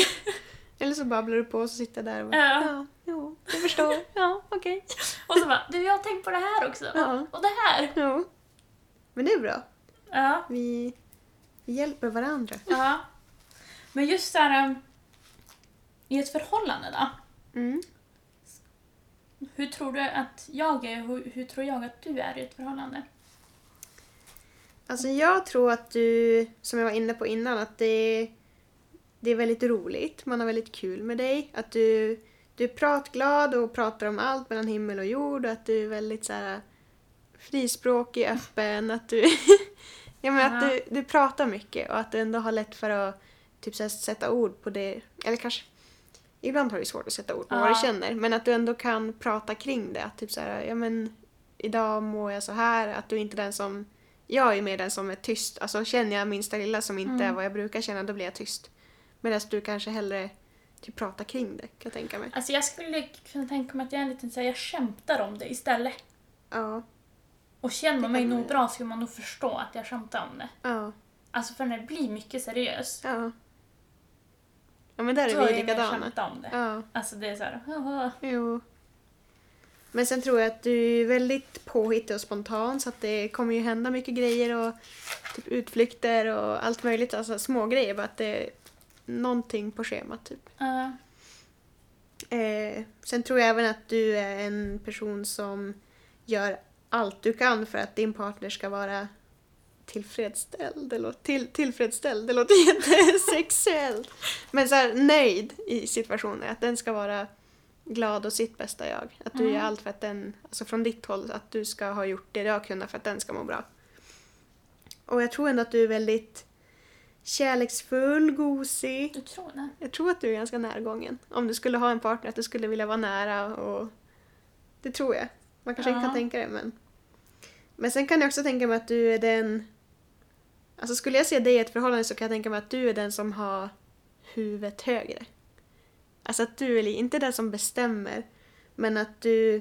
[SPEAKER 1] Eller så babblar du på och så sitter jag där och bara,
[SPEAKER 2] Ja.
[SPEAKER 1] ja, jo, jag förstår, ja, okej.
[SPEAKER 2] Och så bara, du jag har tänkt på det här också.
[SPEAKER 1] Ja.
[SPEAKER 2] Och det här.
[SPEAKER 1] Jo. Men det är bra.
[SPEAKER 2] Ja.
[SPEAKER 1] Vi, vi hjälper varandra.
[SPEAKER 2] ja. Men just såhär, i ett förhållande då.
[SPEAKER 1] Mm.
[SPEAKER 2] Hur tror du att jag är och hur, hur tror jag att du är i ett förhållande?
[SPEAKER 1] Alltså jag tror att du, som jag var inne på innan, att det, det är väldigt roligt. Man har väldigt kul med dig. Att du, du är pratglad och pratar om allt mellan himmel och jord. Och att du är väldigt så här, äh, frispråkig, öppen. Att du, ja, men att
[SPEAKER 2] Ja.
[SPEAKER 1] du, du pratar mycket och att du ändå har lätt för att typ, så här, sätta ord på det. Eller kanske Ibland har det svårt att sätta ord på vad
[SPEAKER 2] Ja.
[SPEAKER 1] du känner, men att du ändå kan prata kring det. Att typ så här, ja men idag mår jag så här, att du inte är den som... Jag är mer den som är tyst. Alltså känner jag minsta lilla som inte
[SPEAKER 2] Mm.
[SPEAKER 1] är vad jag brukar känna, då blir jag tyst. Medan du kanske hellre typ pratar kring det, kan jag tänka mig.
[SPEAKER 2] Alltså jag skulle kunna tänka mig att jag är en liten såhär, jag skämtar om det istället.
[SPEAKER 1] Ja,
[SPEAKER 2] Och känner
[SPEAKER 1] Det
[SPEAKER 2] man mig
[SPEAKER 1] kan man
[SPEAKER 2] nog
[SPEAKER 1] göra.
[SPEAKER 2] bra skulle man nog förstå att jag skämtar om det.
[SPEAKER 1] ja,
[SPEAKER 2] Alltså för när det blir mycket seriöst,
[SPEAKER 1] ja. Ja men där
[SPEAKER 2] då
[SPEAKER 1] är
[SPEAKER 2] är
[SPEAKER 1] vi
[SPEAKER 2] jag mer
[SPEAKER 1] likadana.
[SPEAKER 2] skämta om det.
[SPEAKER 1] Ja,
[SPEAKER 2] Alltså det är såhär, haha.
[SPEAKER 1] jo. Men sen tror jag att du är väldigt påhittig och spontan så att det kommer ju hända mycket grejer och typ utflykter och allt möjligt. Alltså små grejer bara att det är någonting på schemat typ.
[SPEAKER 2] eh,
[SPEAKER 1] Eh, sen tror jag även att du är en person som gör allt du kan för att din partner ska vara tillfredsställd. Det låter, till, tillfredsställd, det låter jättesexuellt. Men så här, nöjd i situationen. Att den ska vara glad och sitt bästa jag. Att du
[SPEAKER 2] Mm.
[SPEAKER 1] gör allt för att den, alltså från ditt håll, att du ska ha gjort det du har kunnat för att den ska må bra. Och jag tror ändå att du är väldigt kärleksfull, gosig.
[SPEAKER 2] du tror det?
[SPEAKER 1] Jag tror att du är ganska närgången. Om du skulle ha en partner, att du skulle vilja vara nära och... Det tror jag. Man kanske inte
[SPEAKER 2] Ja.
[SPEAKER 1] kan tänka det, men... Men sen kan jag också tänka mig att du är den... Alltså skulle jag se dig i ett förhållande så kan jag tänka mig att du är den som har huvudet högre. Alltså att du är li- inte den som bestämmer, men att du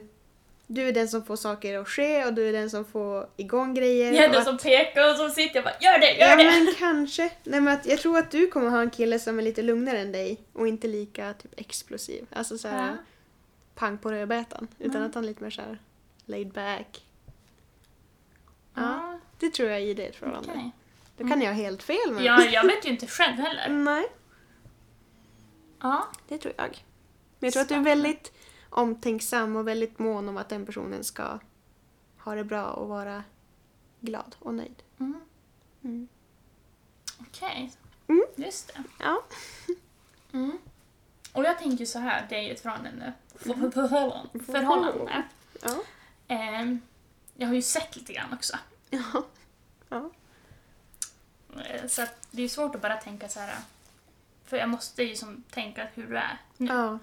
[SPEAKER 1] Du är den som får saker att ske och du är den som får igång grejer.
[SPEAKER 2] Jag är
[SPEAKER 1] och
[SPEAKER 2] den
[SPEAKER 1] att-
[SPEAKER 2] som pekar och som sitter jag bara gör det, gör
[SPEAKER 1] Ja
[SPEAKER 2] det!
[SPEAKER 1] men kanske. Nej, men att jag tror att du kommer ha en kille som är lite lugnare än dig och inte lika typ explosiv. Alltså såhär
[SPEAKER 2] Ja.
[SPEAKER 1] pang på rödbetan. Utan
[SPEAKER 2] Mm.
[SPEAKER 1] att han är lite mer såhär laid back. Ja,
[SPEAKER 2] Ja,
[SPEAKER 1] det tror jag är i det förhållandet.
[SPEAKER 2] okej. Mm.
[SPEAKER 1] Då kan jag ha helt fel men...
[SPEAKER 2] Ja, jag vet ju inte själv heller.
[SPEAKER 1] Nej,
[SPEAKER 2] Ja.
[SPEAKER 1] det tror jag. Men jag tror att du är
[SPEAKER 2] Spännande.
[SPEAKER 1] väldigt omtänksam och väldigt mån om att den personen ska ha det bra och vara glad och nöjd.
[SPEAKER 2] Mm.
[SPEAKER 1] Mm.
[SPEAKER 2] Okej.
[SPEAKER 1] Mm.
[SPEAKER 2] Just det.
[SPEAKER 1] Ja.
[SPEAKER 2] Mm. Och jag tänker så här, det är ju ett förhållande nu. Förhållande. förhållande.
[SPEAKER 1] Mm. Ja.
[SPEAKER 2] Ehm, jag har ju sett lite grann också.
[SPEAKER 1] Ja.
[SPEAKER 2] Eh, Så att det är ju svårt att bara tänka så här. För jag måste ju som tänka hur du är nu.
[SPEAKER 1] ja.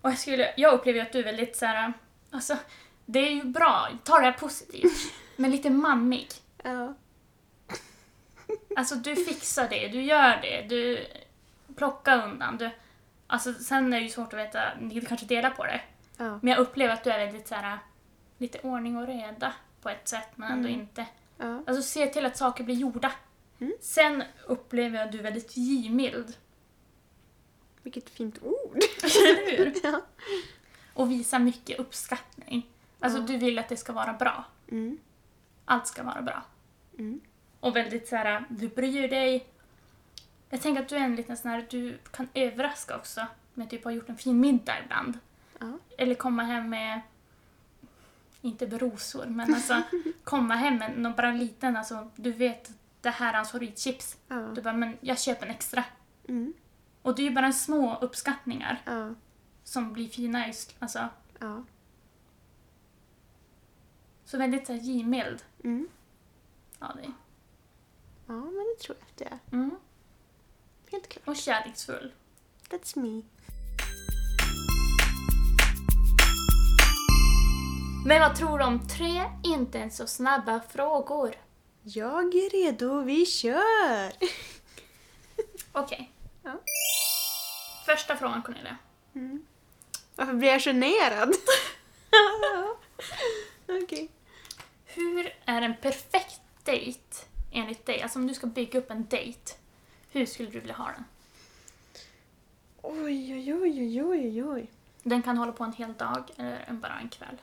[SPEAKER 2] Och jag, skulle, jag upplever ju att du är väldigt så här. Alltså, det är ju bra. Ta det här positivt. Men lite mammig.
[SPEAKER 1] ja.
[SPEAKER 2] Alltså du fixar det, du gör det, du plockar undan. Du, alltså, sen är det ju svårt att veta, ni kanske delar på det.
[SPEAKER 1] ja.
[SPEAKER 2] Men jag upplever att du är väldigt så här, lite ordning och reda på ett sätt men ändå
[SPEAKER 1] Mm.
[SPEAKER 2] inte.
[SPEAKER 1] ja.
[SPEAKER 2] Alltså se till att saker blir gjorda.
[SPEAKER 1] Mm.
[SPEAKER 2] Sen upplever jag att du är väldigt givmild.
[SPEAKER 1] Vilket fint ord!
[SPEAKER 2] Eller hur?
[SPEAKER 1] Ja.
[SPEAKER 2] Och visar mycket uppskattning. Alltså
[SPEAKER 1] Ja.
[SPEAKER 2] du vill att det ska vara bra.
[SPEAKER 1] Mm.
[SPEAKER 2] Allt ska vara bra.
[SPEAKER 1] Mm.
[SPEAKER 2] Och väldigt så här, du bryr dig. Jag tänker att du är en liten sån här, du kan överraska också med typ att ha gjort en fin middag ibland.
[SPEAKER 1] Ja.
[SPEAKER 2] Eller komma hem med, inte med rosor, men alltså komma hem med någon bara liten, alltså du vet det här är hans favoritchips.
[SPEAKER 1] Ja.
[SPEAKER 2] Du bara, men jag köper en extra.
[SPEAKER 1] Mm.
[SPEAKER 2] Och det är ju bara små uppskattningar
[SPEAKER 1] Ja.
[SPEAKER 2] som blir fina just, alltså.
[SPEAKER 1] Ja.
[SPEAKER 2] Så väldigt så här givmild
[SPEAKER 1] Mm.
[SPEAKER 2] av dig.
[SPEAKER 1] Ja, men det tror jag att det är.
[SPEAKER 2] Mm.
[SPEAKER 1] Helt klart.
[SPEAKER 2] Och kärleksfull.
[SPEAKER 1] That's me.
[SPEAKER 2] Men vad tror du om tre inte ens så snabba frågor?
[SPEAKER 1] Jag är redo, vi kör!
[SPEAKER 2] Okej.
[SPEAKER 1] Ja.
[SPEAKER 2] Första frågan Cornelia.
[SPEAKER 1] Mm. Varför blir jag generad? Okej.
[SPEAKER 2] Hur är en perfekt dejt enligt dig? Alltså om du ska bygga upp en dejt, hur skulle du vilja ha den?
[SPEAKER 1] Oj, oj, oj, oj, oj, oj.
[SPEAKER 2] Den kan hålla på en hel dag eller en- bara en kväll.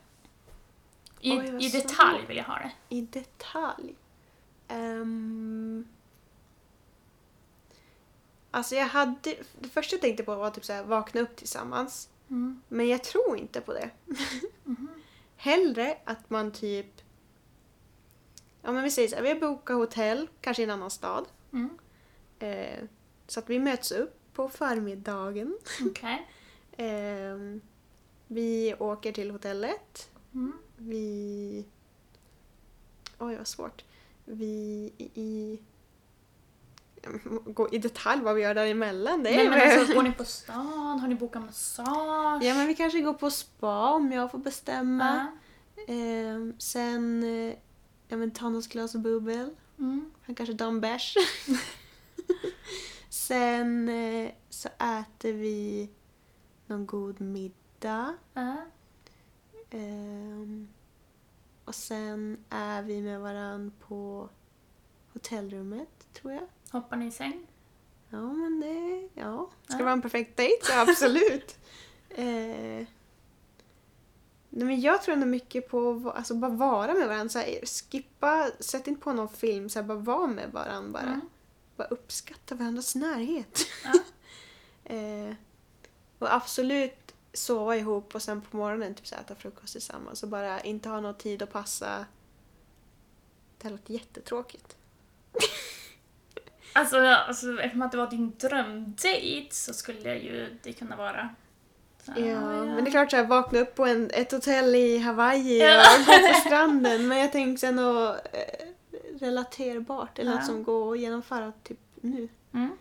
[SPEAKER 2] I,
[SPEAKER 1] Oj, vad
[SPEAKER 2] i detalj
[SPEAKER 1] svårt.
[SPEAKER 2] vill jag ha det.
[SPEAKER 1] I detalj. Um... Alltså jag hade... Det första jag tänkte på var typ så här, vakna upp tillsammans.
[SPEAKER 2] Mm. mhm,
[SPEAKER 1] Men jag tror inte på det. Hellre att man typ... Ja men vi säger så här, vi bokar hotell, kanske i en annan stad.
[SPEAKER 2] Mm.
[SPEAKER 1] Eh, så att vi möts upp på förmiddagen.
[SPEAKER 2] Okej.
[SPEAKER 1] Eh, vi åker till hotellet.
[SPEAKER 2] Mm.
[SPEAKER 1] Vi... Oj vad svårt. Vi i... i gå i detalj vad vi gör däremellan. Det är
[SPEAKER 2] Nej, men
[SPEAKER 1] väl-
[SPEAKER 2] alltså, går ni på stan? Har ni bokat massage? Äh,
[SPEAKER 1] Ja men vi kanske går på spa om jag får bestämma.
[SPEAKER 2] Ja.
[SPEAKER 1] Ehm, sen, eh, ja men ta något glas bubbel.
[SPEAKER 2] Mm.
[SPEAKER 1] Han kanske tar en bärs. sen eh, så äter vi någon god middag.
[SPEAKER 2] Ja.
[SPEAKER 1] Ehm, och sen är vi med varann på hotellrummet, tror jag.
[SPEAKER 2] Hoppar ni i säng?
[SPEAKER 1] Ja, men det... Ja. Ska
[SPEAKER 2] Ja.
[SPEAKER 1] vara en perfekt dejt, ja absolut. eh, nej, men jag tror ändå mycket på att va- alltså, bara vara med varandra. Så här, skippa, sätt inte på någon film, så här, bara vara med varandra. Bara.
[SPEAKER 2] Mm.
[SPEAKER 1] bara uppskatta varandras närhet.
[SPEAKER 2] Ja.
[SPEAKER 1] eh, och absolut sova ihop och sen på morgonen typ, så här, äta frukost tillsammans och bara inte ha någon tid att passa. Det här låter jättetråkigt.
[SPEAKER 2] Alltså, alltså eftersom att det var din drömdate så skulle ju det kunna vara... så här,
[SPEAKER 1] Ja,
[SPEAKER 2] ja.
[SPEAKER 1] men det är klart såhär vakna upp på en, ett hotell i Hawaii
[SPEAKER 2] Ja.
[SPEAKER 1] och gå på stranden. Men jag tänkte sen något eh, relaterbart eller
[SPEAKER 2] Ja.
[SPEAKER 1] något som går att genomföra typ nu.
[SPEAKER 2] Mm.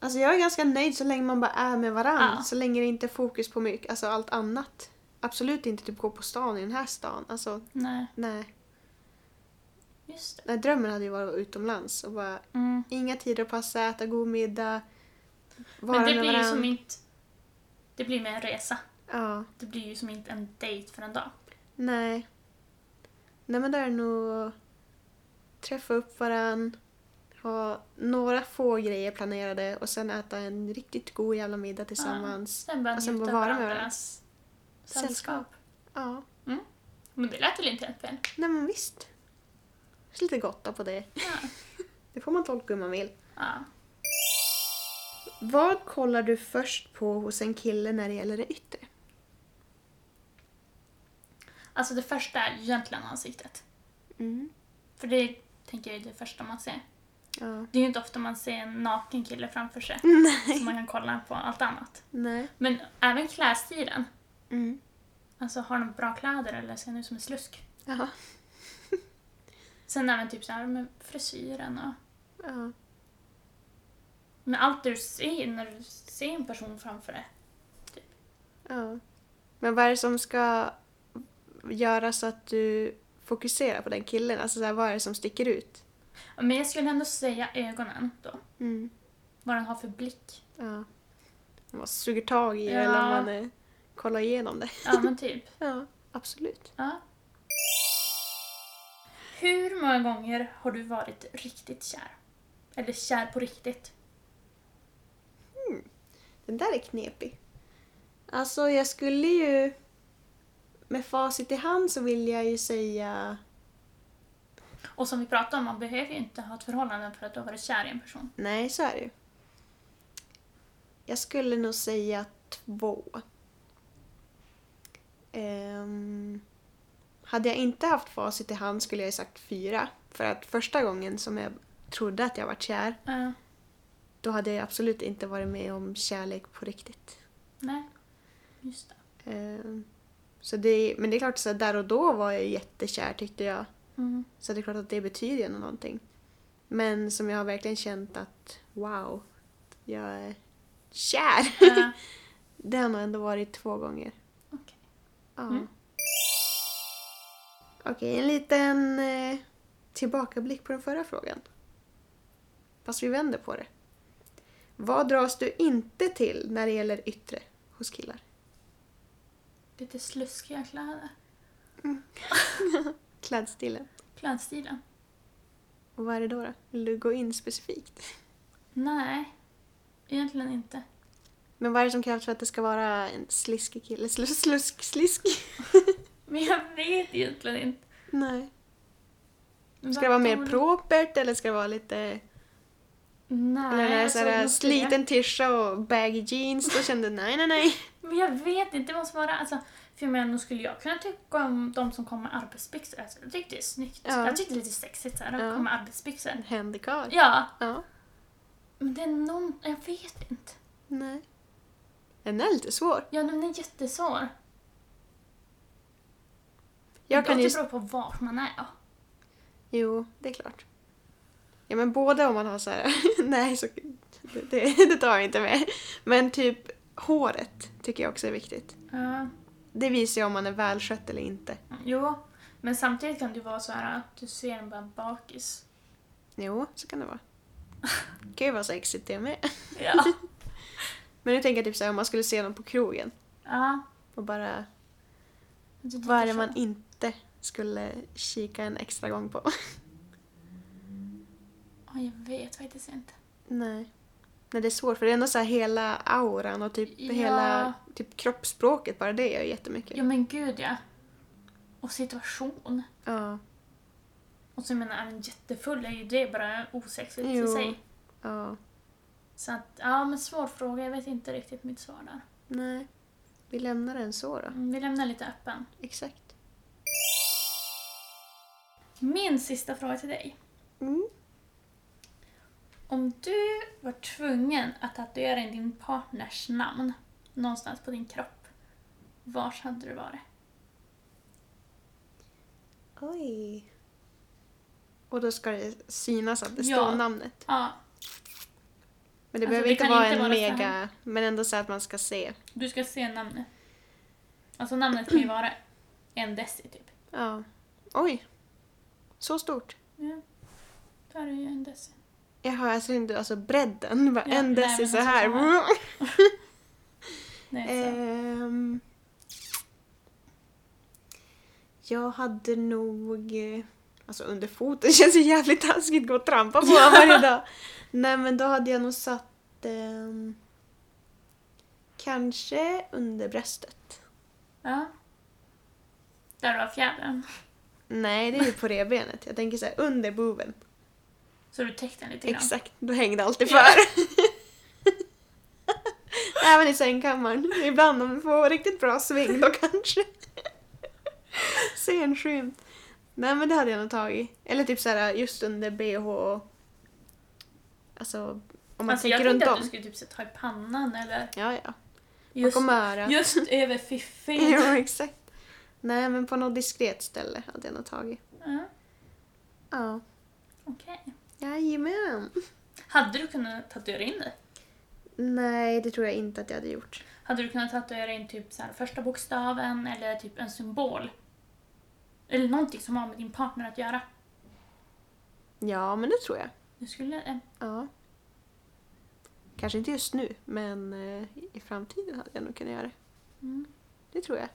[SPEAKER 1] Alltså jag är ganska nöjd så länge man bara är med varandra.
[SPEAKER 2] Ja.
[SPEAKER 1] Så länge det inte är fokus på mycket, alltså allt annat. Absolut inte typ gå på stan i den här stan. Alltså
[SPEAKER 2] Nej,
[SPEAKER 1] nej.
[SPEAKER 2] just det.
[SPEAKER 1] nej drömmen hade ju varit att vara utomlands och bara
[SPEAKER 2] Mm.
[SPEAKER 1] inga tider att passa, äta god middag, vara
[SPEAKER 2] Men det
[SPEAKER 1] med
[SPEAKER 2] blir ju
[SPEAKER 1] varandra.
[SPEAKER 2] som inte... Det blir med en resa.
[SPEAKER 1] Ja.
[SPEAKER 2] Det blir ju som inte en dejt för en dag.
[SPEAKER 1] Nej. Nej men där är nog träffa upp varann, ha några få grejer planerade och sen äta en riktigt god jävla middag tillsammans.
[SPEAKER 2] Sen bara
[SPEAKER 1] Och sen
[SPEAKER 2] njuta
[SPEAKER 1] bara
[SPEAKER 2] av
[SPEAKER 1] Alltså, vara med
[SPEAKER 2] varandras sällskap.
[SPEAKER 1] Ja.
[SPEAKER 2] Men det lät väl inte helt fel?
[SPEAKER 1] Nej men visst. Så lite gotta på det.
[SPEAKER 2] Ja.
[SPEAKER 1] Det får man tolka hur man vill.
[SPEAKER 2] ja.
[SPEAKER 1] Vad kollar du först på hos en kille när det gäller det yttre?
[SPEAKER 2] Alltså det första är ju egentligen ansiktet.
[SPEAKER 1] Mm.
[SPEAKER 2] För det tänker jag är det första man ser.
[SPEAKER 1] Ja.
[SPEAKER 2] Det är ju inte ofta man ser en naken kille framför sig.
[SPEAKER 1] Nej.
[SPEAKER 2] Så man kan kolla på allt annat.
[SPEAKER 1] Nej.
[SPEAKER 2] Men även klädstilen.
[SPEAKER 1] Mm.
[SPEAKER 2] Alltså har de bra kläder eller ser de ut som en slusk?
[SPEAKER 1] Ja.
[SPEAKER 2] Sen även typ så här med frisyren och...
[SPEAKER 1] ja.
[SPEAKER 2] Men allt du ser när du ser en person framför dig.
[SPEAKER 1] Ja. Men vad är det som ska göra så att du fokuserar på den killen? Alltså så här, vad är det som sticker ut?
[SPEAKER 2] Men jag skulle ändå säga ögonen då.
[SPEAKER 1] Mm.
[SPEAKER 2] Vad den har för blick.
[SPEAKER 1] Ja. Om man suger tag i det
[SPEAKER 2] Ja.
[SPEAKER 1] eller om man eh, kollar igenom det.
[SPEAKER 2] Ja men typ.
[SPEAKER 1] Ja, absolut.
[SPEAKER 2] Ja. Hur många gånger har du varit riktigt kär? Eller kär på riktigt?
[SPEAKER 1] Den där är knepig. Alltså jag skulle ju... Med facit i hand så vill jag ju säga
[SPEAKER 2] Och som vi pratade om, man behöver ju inte ha ett förhållande för att du har varit kär i en person.
[SPEAKER 1] nej, så är det ju. Jag skulle nog säga två. Ehm, hade jag inte haft facit i hand skulle jag ju sagt fyra. För att första gången som jag trodde att jag var kär,
[SPEAKER 2] Ja.
[SPEAKER 1] då hade jag absolut inte varit med om kärlek på riktigt.
[SPEAKER 2] nej. Just det.
[SPEAKER 1] Ehm, Så det, men det är klart, så här, där och då var jag jättekär tyckte jag.
[SPEAKER 2] Mm.
[SPEAKER 1] Så det är klart att det betyder ju ändå någonting. Men som jag har verkligen känt att wow, jag är kär.
[SPEAKER 2] Ja.
[SPEAKER 1] Det har nog ändå varit två gånger.
[SPEAKER 2] Okej.
[SPEAKER 1] Ja.
[SPEAKER 2] Mm.
[SPEAKER 1] Okej, en liten eh, tillbakablick på den förra frågan. Fast vi vänder på det. Vad dras du inte till när det gäller yttre hos killar?
[SPEAKER 2] Lite sluskiga kläder.
[SPEAKER 1] Klädstilen.
[SPEAKER 2] Klädstilen.
[SPEAKER 1] Och vad är det då? då? Vill du gå in specifikt?
[SPEAKER 2] Nej, egentligen inte.
[SPEAKER 1] Men vad är det som krävs för att det ska vara en sliskig kille? Slus, slusk, slisk?
[SPEAKER 2] Men jag vet egentligen inte.
[SPEAKER 1] Nej.
[SPEAKER 2] Vad
[SPEAKER 1] Ska det vara mer
[SPEAKER 2] tror du?
[SPEAKER 1] propert eller ska det vara lite...
[SPEAKER 2] Nej,
[SPEAKER 1] eller är det
[SPEAKER 2] jag
[SPEAKER 1] så
[SPEAKER 2] såg
[SPEAKER 1] här
[SPEAKER 2] nog
[SPEAKER 1] sliten tisha och baggy jeans? Då kände du nej, nej, nej.
[SPEAKER 2] Men jag vet inte, det måste vara... Alltså, för jag menar, nog skulle jag kunna tycka om de som kommer med arbetsbyxor. Alltså, jag tyckte det är snyggt.
[SPEAKER 1] Ja.
[SPEAKER 2] Jag tyckte det är lite sexigt så här, att
[SPEAKER 1] Ja.
[SPEAKER 2] komma med arbetsbyxor.
[SPEAKER 1] En händig karl.
[SPEAKER 2] Ja,
[SPEAKER 1] Ja.
[SPEAKER 2] men det är någon... Jag vet inte.
[SPEAKER 1] Nej. Den är lite svår.
[SPEAKER 2] Ja, den är jättesvår.
[SPEAKER 1] Jag kan
[SPEAKER 2] det
[SPEAKER 1] ju...
[SPEAKER 2] beror på var man är. Ja.
[SPEAKER 1] Jo, det är klart. Ja, men både om man har så här... nej, så... Det, det, det tar jag inte med. Men typ håret tycker jag också är viktigt.
[SPEAKER 2] Ja.
[SPEAKER 1] Det visar ju om man är välskött eller inte.
[SPEAKER 2] Jo, men samtidigt kan det ju vara så här att du ser en bara bakis.
[SPEAKER 1] Jo, så kan det vara. Det kan ju vara sexigt det med.
[SPEAKER 2] Ja.
[SPEAKER 1] Men nu tänker jag typ såhär om man skulle se någon på krogen
[SPEAKER 2] ja.
[SPEAKER 1] och bara,
[SPEAKER 2] Du tycker
[SPEAKER 1] vad är det
[SPEAKER 2] så.
[SPEAKER 1] man inte skulle kika en extra gång på?
[SPEAKER 2] Ja, jag vet faktiskt inte.
[SPEAKER 1] Nej. Nej, det är svårt för det är ändå såhär hela auran och typ
[SPEAKER 2] Ja.
[SPEAKER 1] hela typ kroppsspråket, bara det gör ju jättemycket.
[SPEAKER 2] Ja, men gud ja. Och situation.
[SPEAKER 1] Ja.
[SPEAKER 2] Och så jag menar, även jättefull är ju det bara osexigt i
[SPEAKER 1] Jo.
[SPEAKER 2] sig.
[SPEAKER 1] Ja.
[SPEAKER 2] Så att, ja men svår fråga. Jag vet inte riktigt mitt svar där.
[SPEAKER 1] Nej. Vi lämnar den så då.
[SPEAKER 2] Mm, Vi lämnar lite öppen.
[SPEAKER 1] Exakt.
[SPEAKER 2] Min sista fråga till dig.
[SPEAKER 1] Mm.
[SPEAKER 2] Om du var tvungen att tatuera in din partners namn någonstans på din kropp, vars hade du varit?
[SPEAKER 1] Oj. Och då ska det synas att det
[SPEAKER 2] Ja.
[SPEAKER 1] står namnet.
[SPEAKER 2] Ja,
[SPEAKER 1] Men det
[SPEAKER 2] Alltså,
[SPEAKER 1] behöver
[SPEAKER 2] det
[SPEAKER 1] inte
[SPEAKER 2] kan
[SPEAKER 1] vara
[SPEAKER 2] inte
[SPEAKER 1] en
[SPEAKER 2] vara så här.
[SPEAKER 1] mega, men ändå så att man ska se.
[SPEAKER 2] du ska se namnet. Alltså namnet kan ju vara en deci typ.
[SPEAKER 1] Ja. Oj. Så stort.
[SPEAKER 2] Ja. Där är ju en deci.
[SPEAKER 1] Jaha, jag ser inte alltså bredden. Bara
[SPEAKER 2] Ja,
[SPEAKER 1] en
[SPEAKER 2] nej,
[SPEAKER 1] deci
[SPEAKER 2] men
[SPEAKER 1] så
[SPEAKER 2] alltså
[SPEAKER 1] här. Eh,
[SPEAKER 2] så här. Nej, så.
[SPEAKER 1] Ehm, Jag hade nog... eh, Alltså under foten känns ju jävligt taskigt att gå och trampa på honom varje dag. Nej men då hade jag nog satt... ehm, kanske under bröstet.
[SPEAKER 2] Ja. Där du har fjädern.
[SPEAKER 1] Nej, det är ju på revbenet. Jag tänker så här, under boven.
[SPEAKER 2] Så du täckte den lite grann.
[SPEAKER 1] Exakt, då hängde alltid för. Även i sängkammaren. Ibland om vi får riktigt bra sving då kanske. Se en skymt. Nej men det hade jag nog tagit. Eller typ såhär just under bh och... Alltså om man
[SPEAKER 2] alltså, jag
[SPEAKER 1] tänker runt
[SPEAKER 2] tänkte att
[SPEAKER 1] om.
[SPEAKER 2] du skulle typ sätta i pannan eller
[SPEAKER 1] Ja ja.
[SPEAKER 2] just,
[SPEAKER 1] Bakom örat.
[SPEAKER 2] just över fiffin.
[SPEAKER 1] Jo exakt. Nej men på något diskret ställe hade jag nog tagit.
[SPEAKER 2] Ja,
[SPEAKER 1] Ja.
[SPEAKER 2] Okej.
[SPEAKER 1] Jajamän.
[SPEAKER 2] Hade du kunnat tatuera in dig?
[SPEAKER 1] Nej det tror jag inte att jag hade gjort.
[SPEAKER 2] Hade du kunnat tatuera in typ så här första bokstaven eller typ en symbol? Eller någonting som har med din partner att göra?
[SPEAKER 1] Ja men det tror jag.
[SPEAKER 2] Du skulle... eh,
[SPEAKER 1] Ja. Kanske inte just nu, men eh, i framtiden hade jag nog kunnat göra det.
[SPEAKER 2] Mm.
[SPEAKER 1] Det tror jag.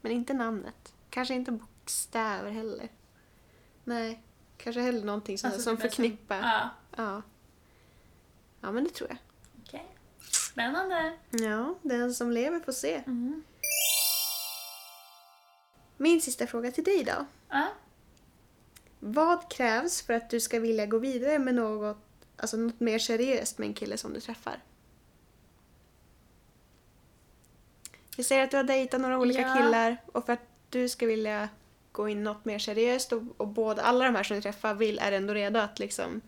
[SPEAKER 1] Men inte namnet. Kanske inte bokstäver heller. Nej, kanske heller någonting som,
[SPEAKER 2] Alltså,
[SPEAKER 1] som
[SPEAKER 2] typ en som-
[SPEAKER 1] förknippar. Ja.
[SPEAKER 2] Ja,
[SPEAKER 1] ja. men det tror jag.
[SPEAKER 2] okej. Spännande.
[SPEAKER 1] Ja, den som lever får se.
[SPEAKER 2] Mm.
[SPEAKER 1] Min sista fråga till dig då.
[SPEAKER 2] Ja.
[SPEAKER 1] Vad krävs för att du ska vilja gå vidare med något, alltså något mer seriöst med en kille som du träffar? Vi säger att du har dejtat några olika
[SPEAKER 2] Ja.
[SPEAKER 1] killar och för att du ska vilja gå in något mer seriöst och, och båda, alla de här som du träffar vill, är ändå redo att liksom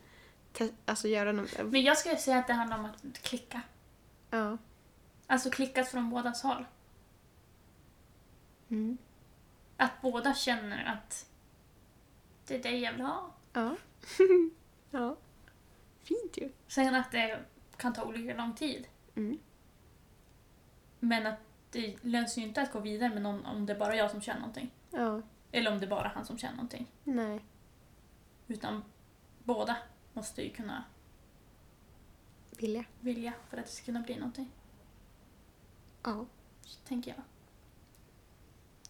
[SPEAKER 1] te- alltså göra något.
[SPEAKER 2] Men jag skulle säga att det handlar om att klicka.
[SPEAKER 1] Ja.
[SPEAKER 2] Alltså klicka från bådas håll.
[SPEAKER 1] Mm.
[SPEAKER 2] Att båda känner att det är det jag vill ha.
[SPEAKER 1] Ja. ja. Fint ju.
[SPEAKER 2] Sen att det kan ta olika lång tid.
[SPEAKER 1] Mm.
[SPEAKER 2] Men att det löser ju inte att gå vidare med någon om det är bara jag som känner någonting.
[SPEAKER 1] Ja.
[SPEAKER 2] Eller om det är bara han som känner någonting.
[SPEAKER 1] Nej.
[SPEAKER 2] Utan båda måste ju kunna
[SPEAKER 1] Vilja.
[SPEAKER 2] vilja för att det ska kunna bli någonting.
[SPEAKER 1] Ja.
[SPEAKER 2] Så tänker jag.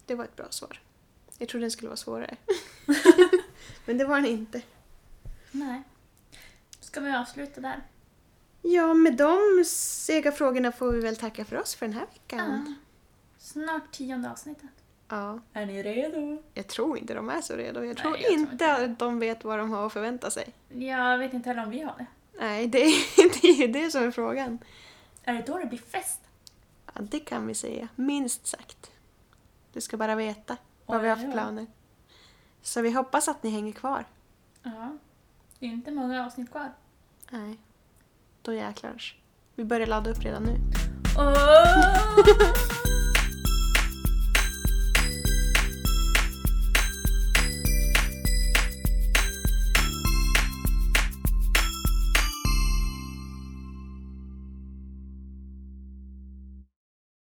[SPEAKER 1] Det var ett bra svar. Jag trodde den skulle vara svårare. Men det var den inte.
[SPEAKER 2] Nej. Ska vi avsluta där?
[SPEAKER 1] Ja, med de sega frågorna får vi väl tacka för oss för den här veckan.
[SPEAKER 2] Ja. Ah. Snart tionde avsnittet.
[SPEAKER 1] Ja,
[SPEAKER 2] Är ni redo?
[SPEAKER 1] jag tror inte de är så redo. Jag tror
[SPEAKER 2] jag tror
[SPEAKER 1] inte
[SPEAKER 2] inte det.
[SPEAKER 1] att de vet vad de har att förvänta sig.
[SPEAKER 2] Jag vet inte heller om vi har det.
[SPEAKER 1] Nej, det är, det är ju det som är frågan.
[SPEAKER 2] Är det då det blir fest?
[SPEAKER 1] Ja, det kan vi säga, minst sagt. Du ska bara veta vad vi har för
[SPEAKER 2] Oj,
[SPEAKER 1] planer. Så vi hoppas att ni hänger kvar.
[SPEAKER 2] Ja. Det är inte många avsnitt kvar.
[SPEAKER 1] Nej, då jäklars. Vi börjar ladda upp redan nu.
[SPEAKER 2] Åh!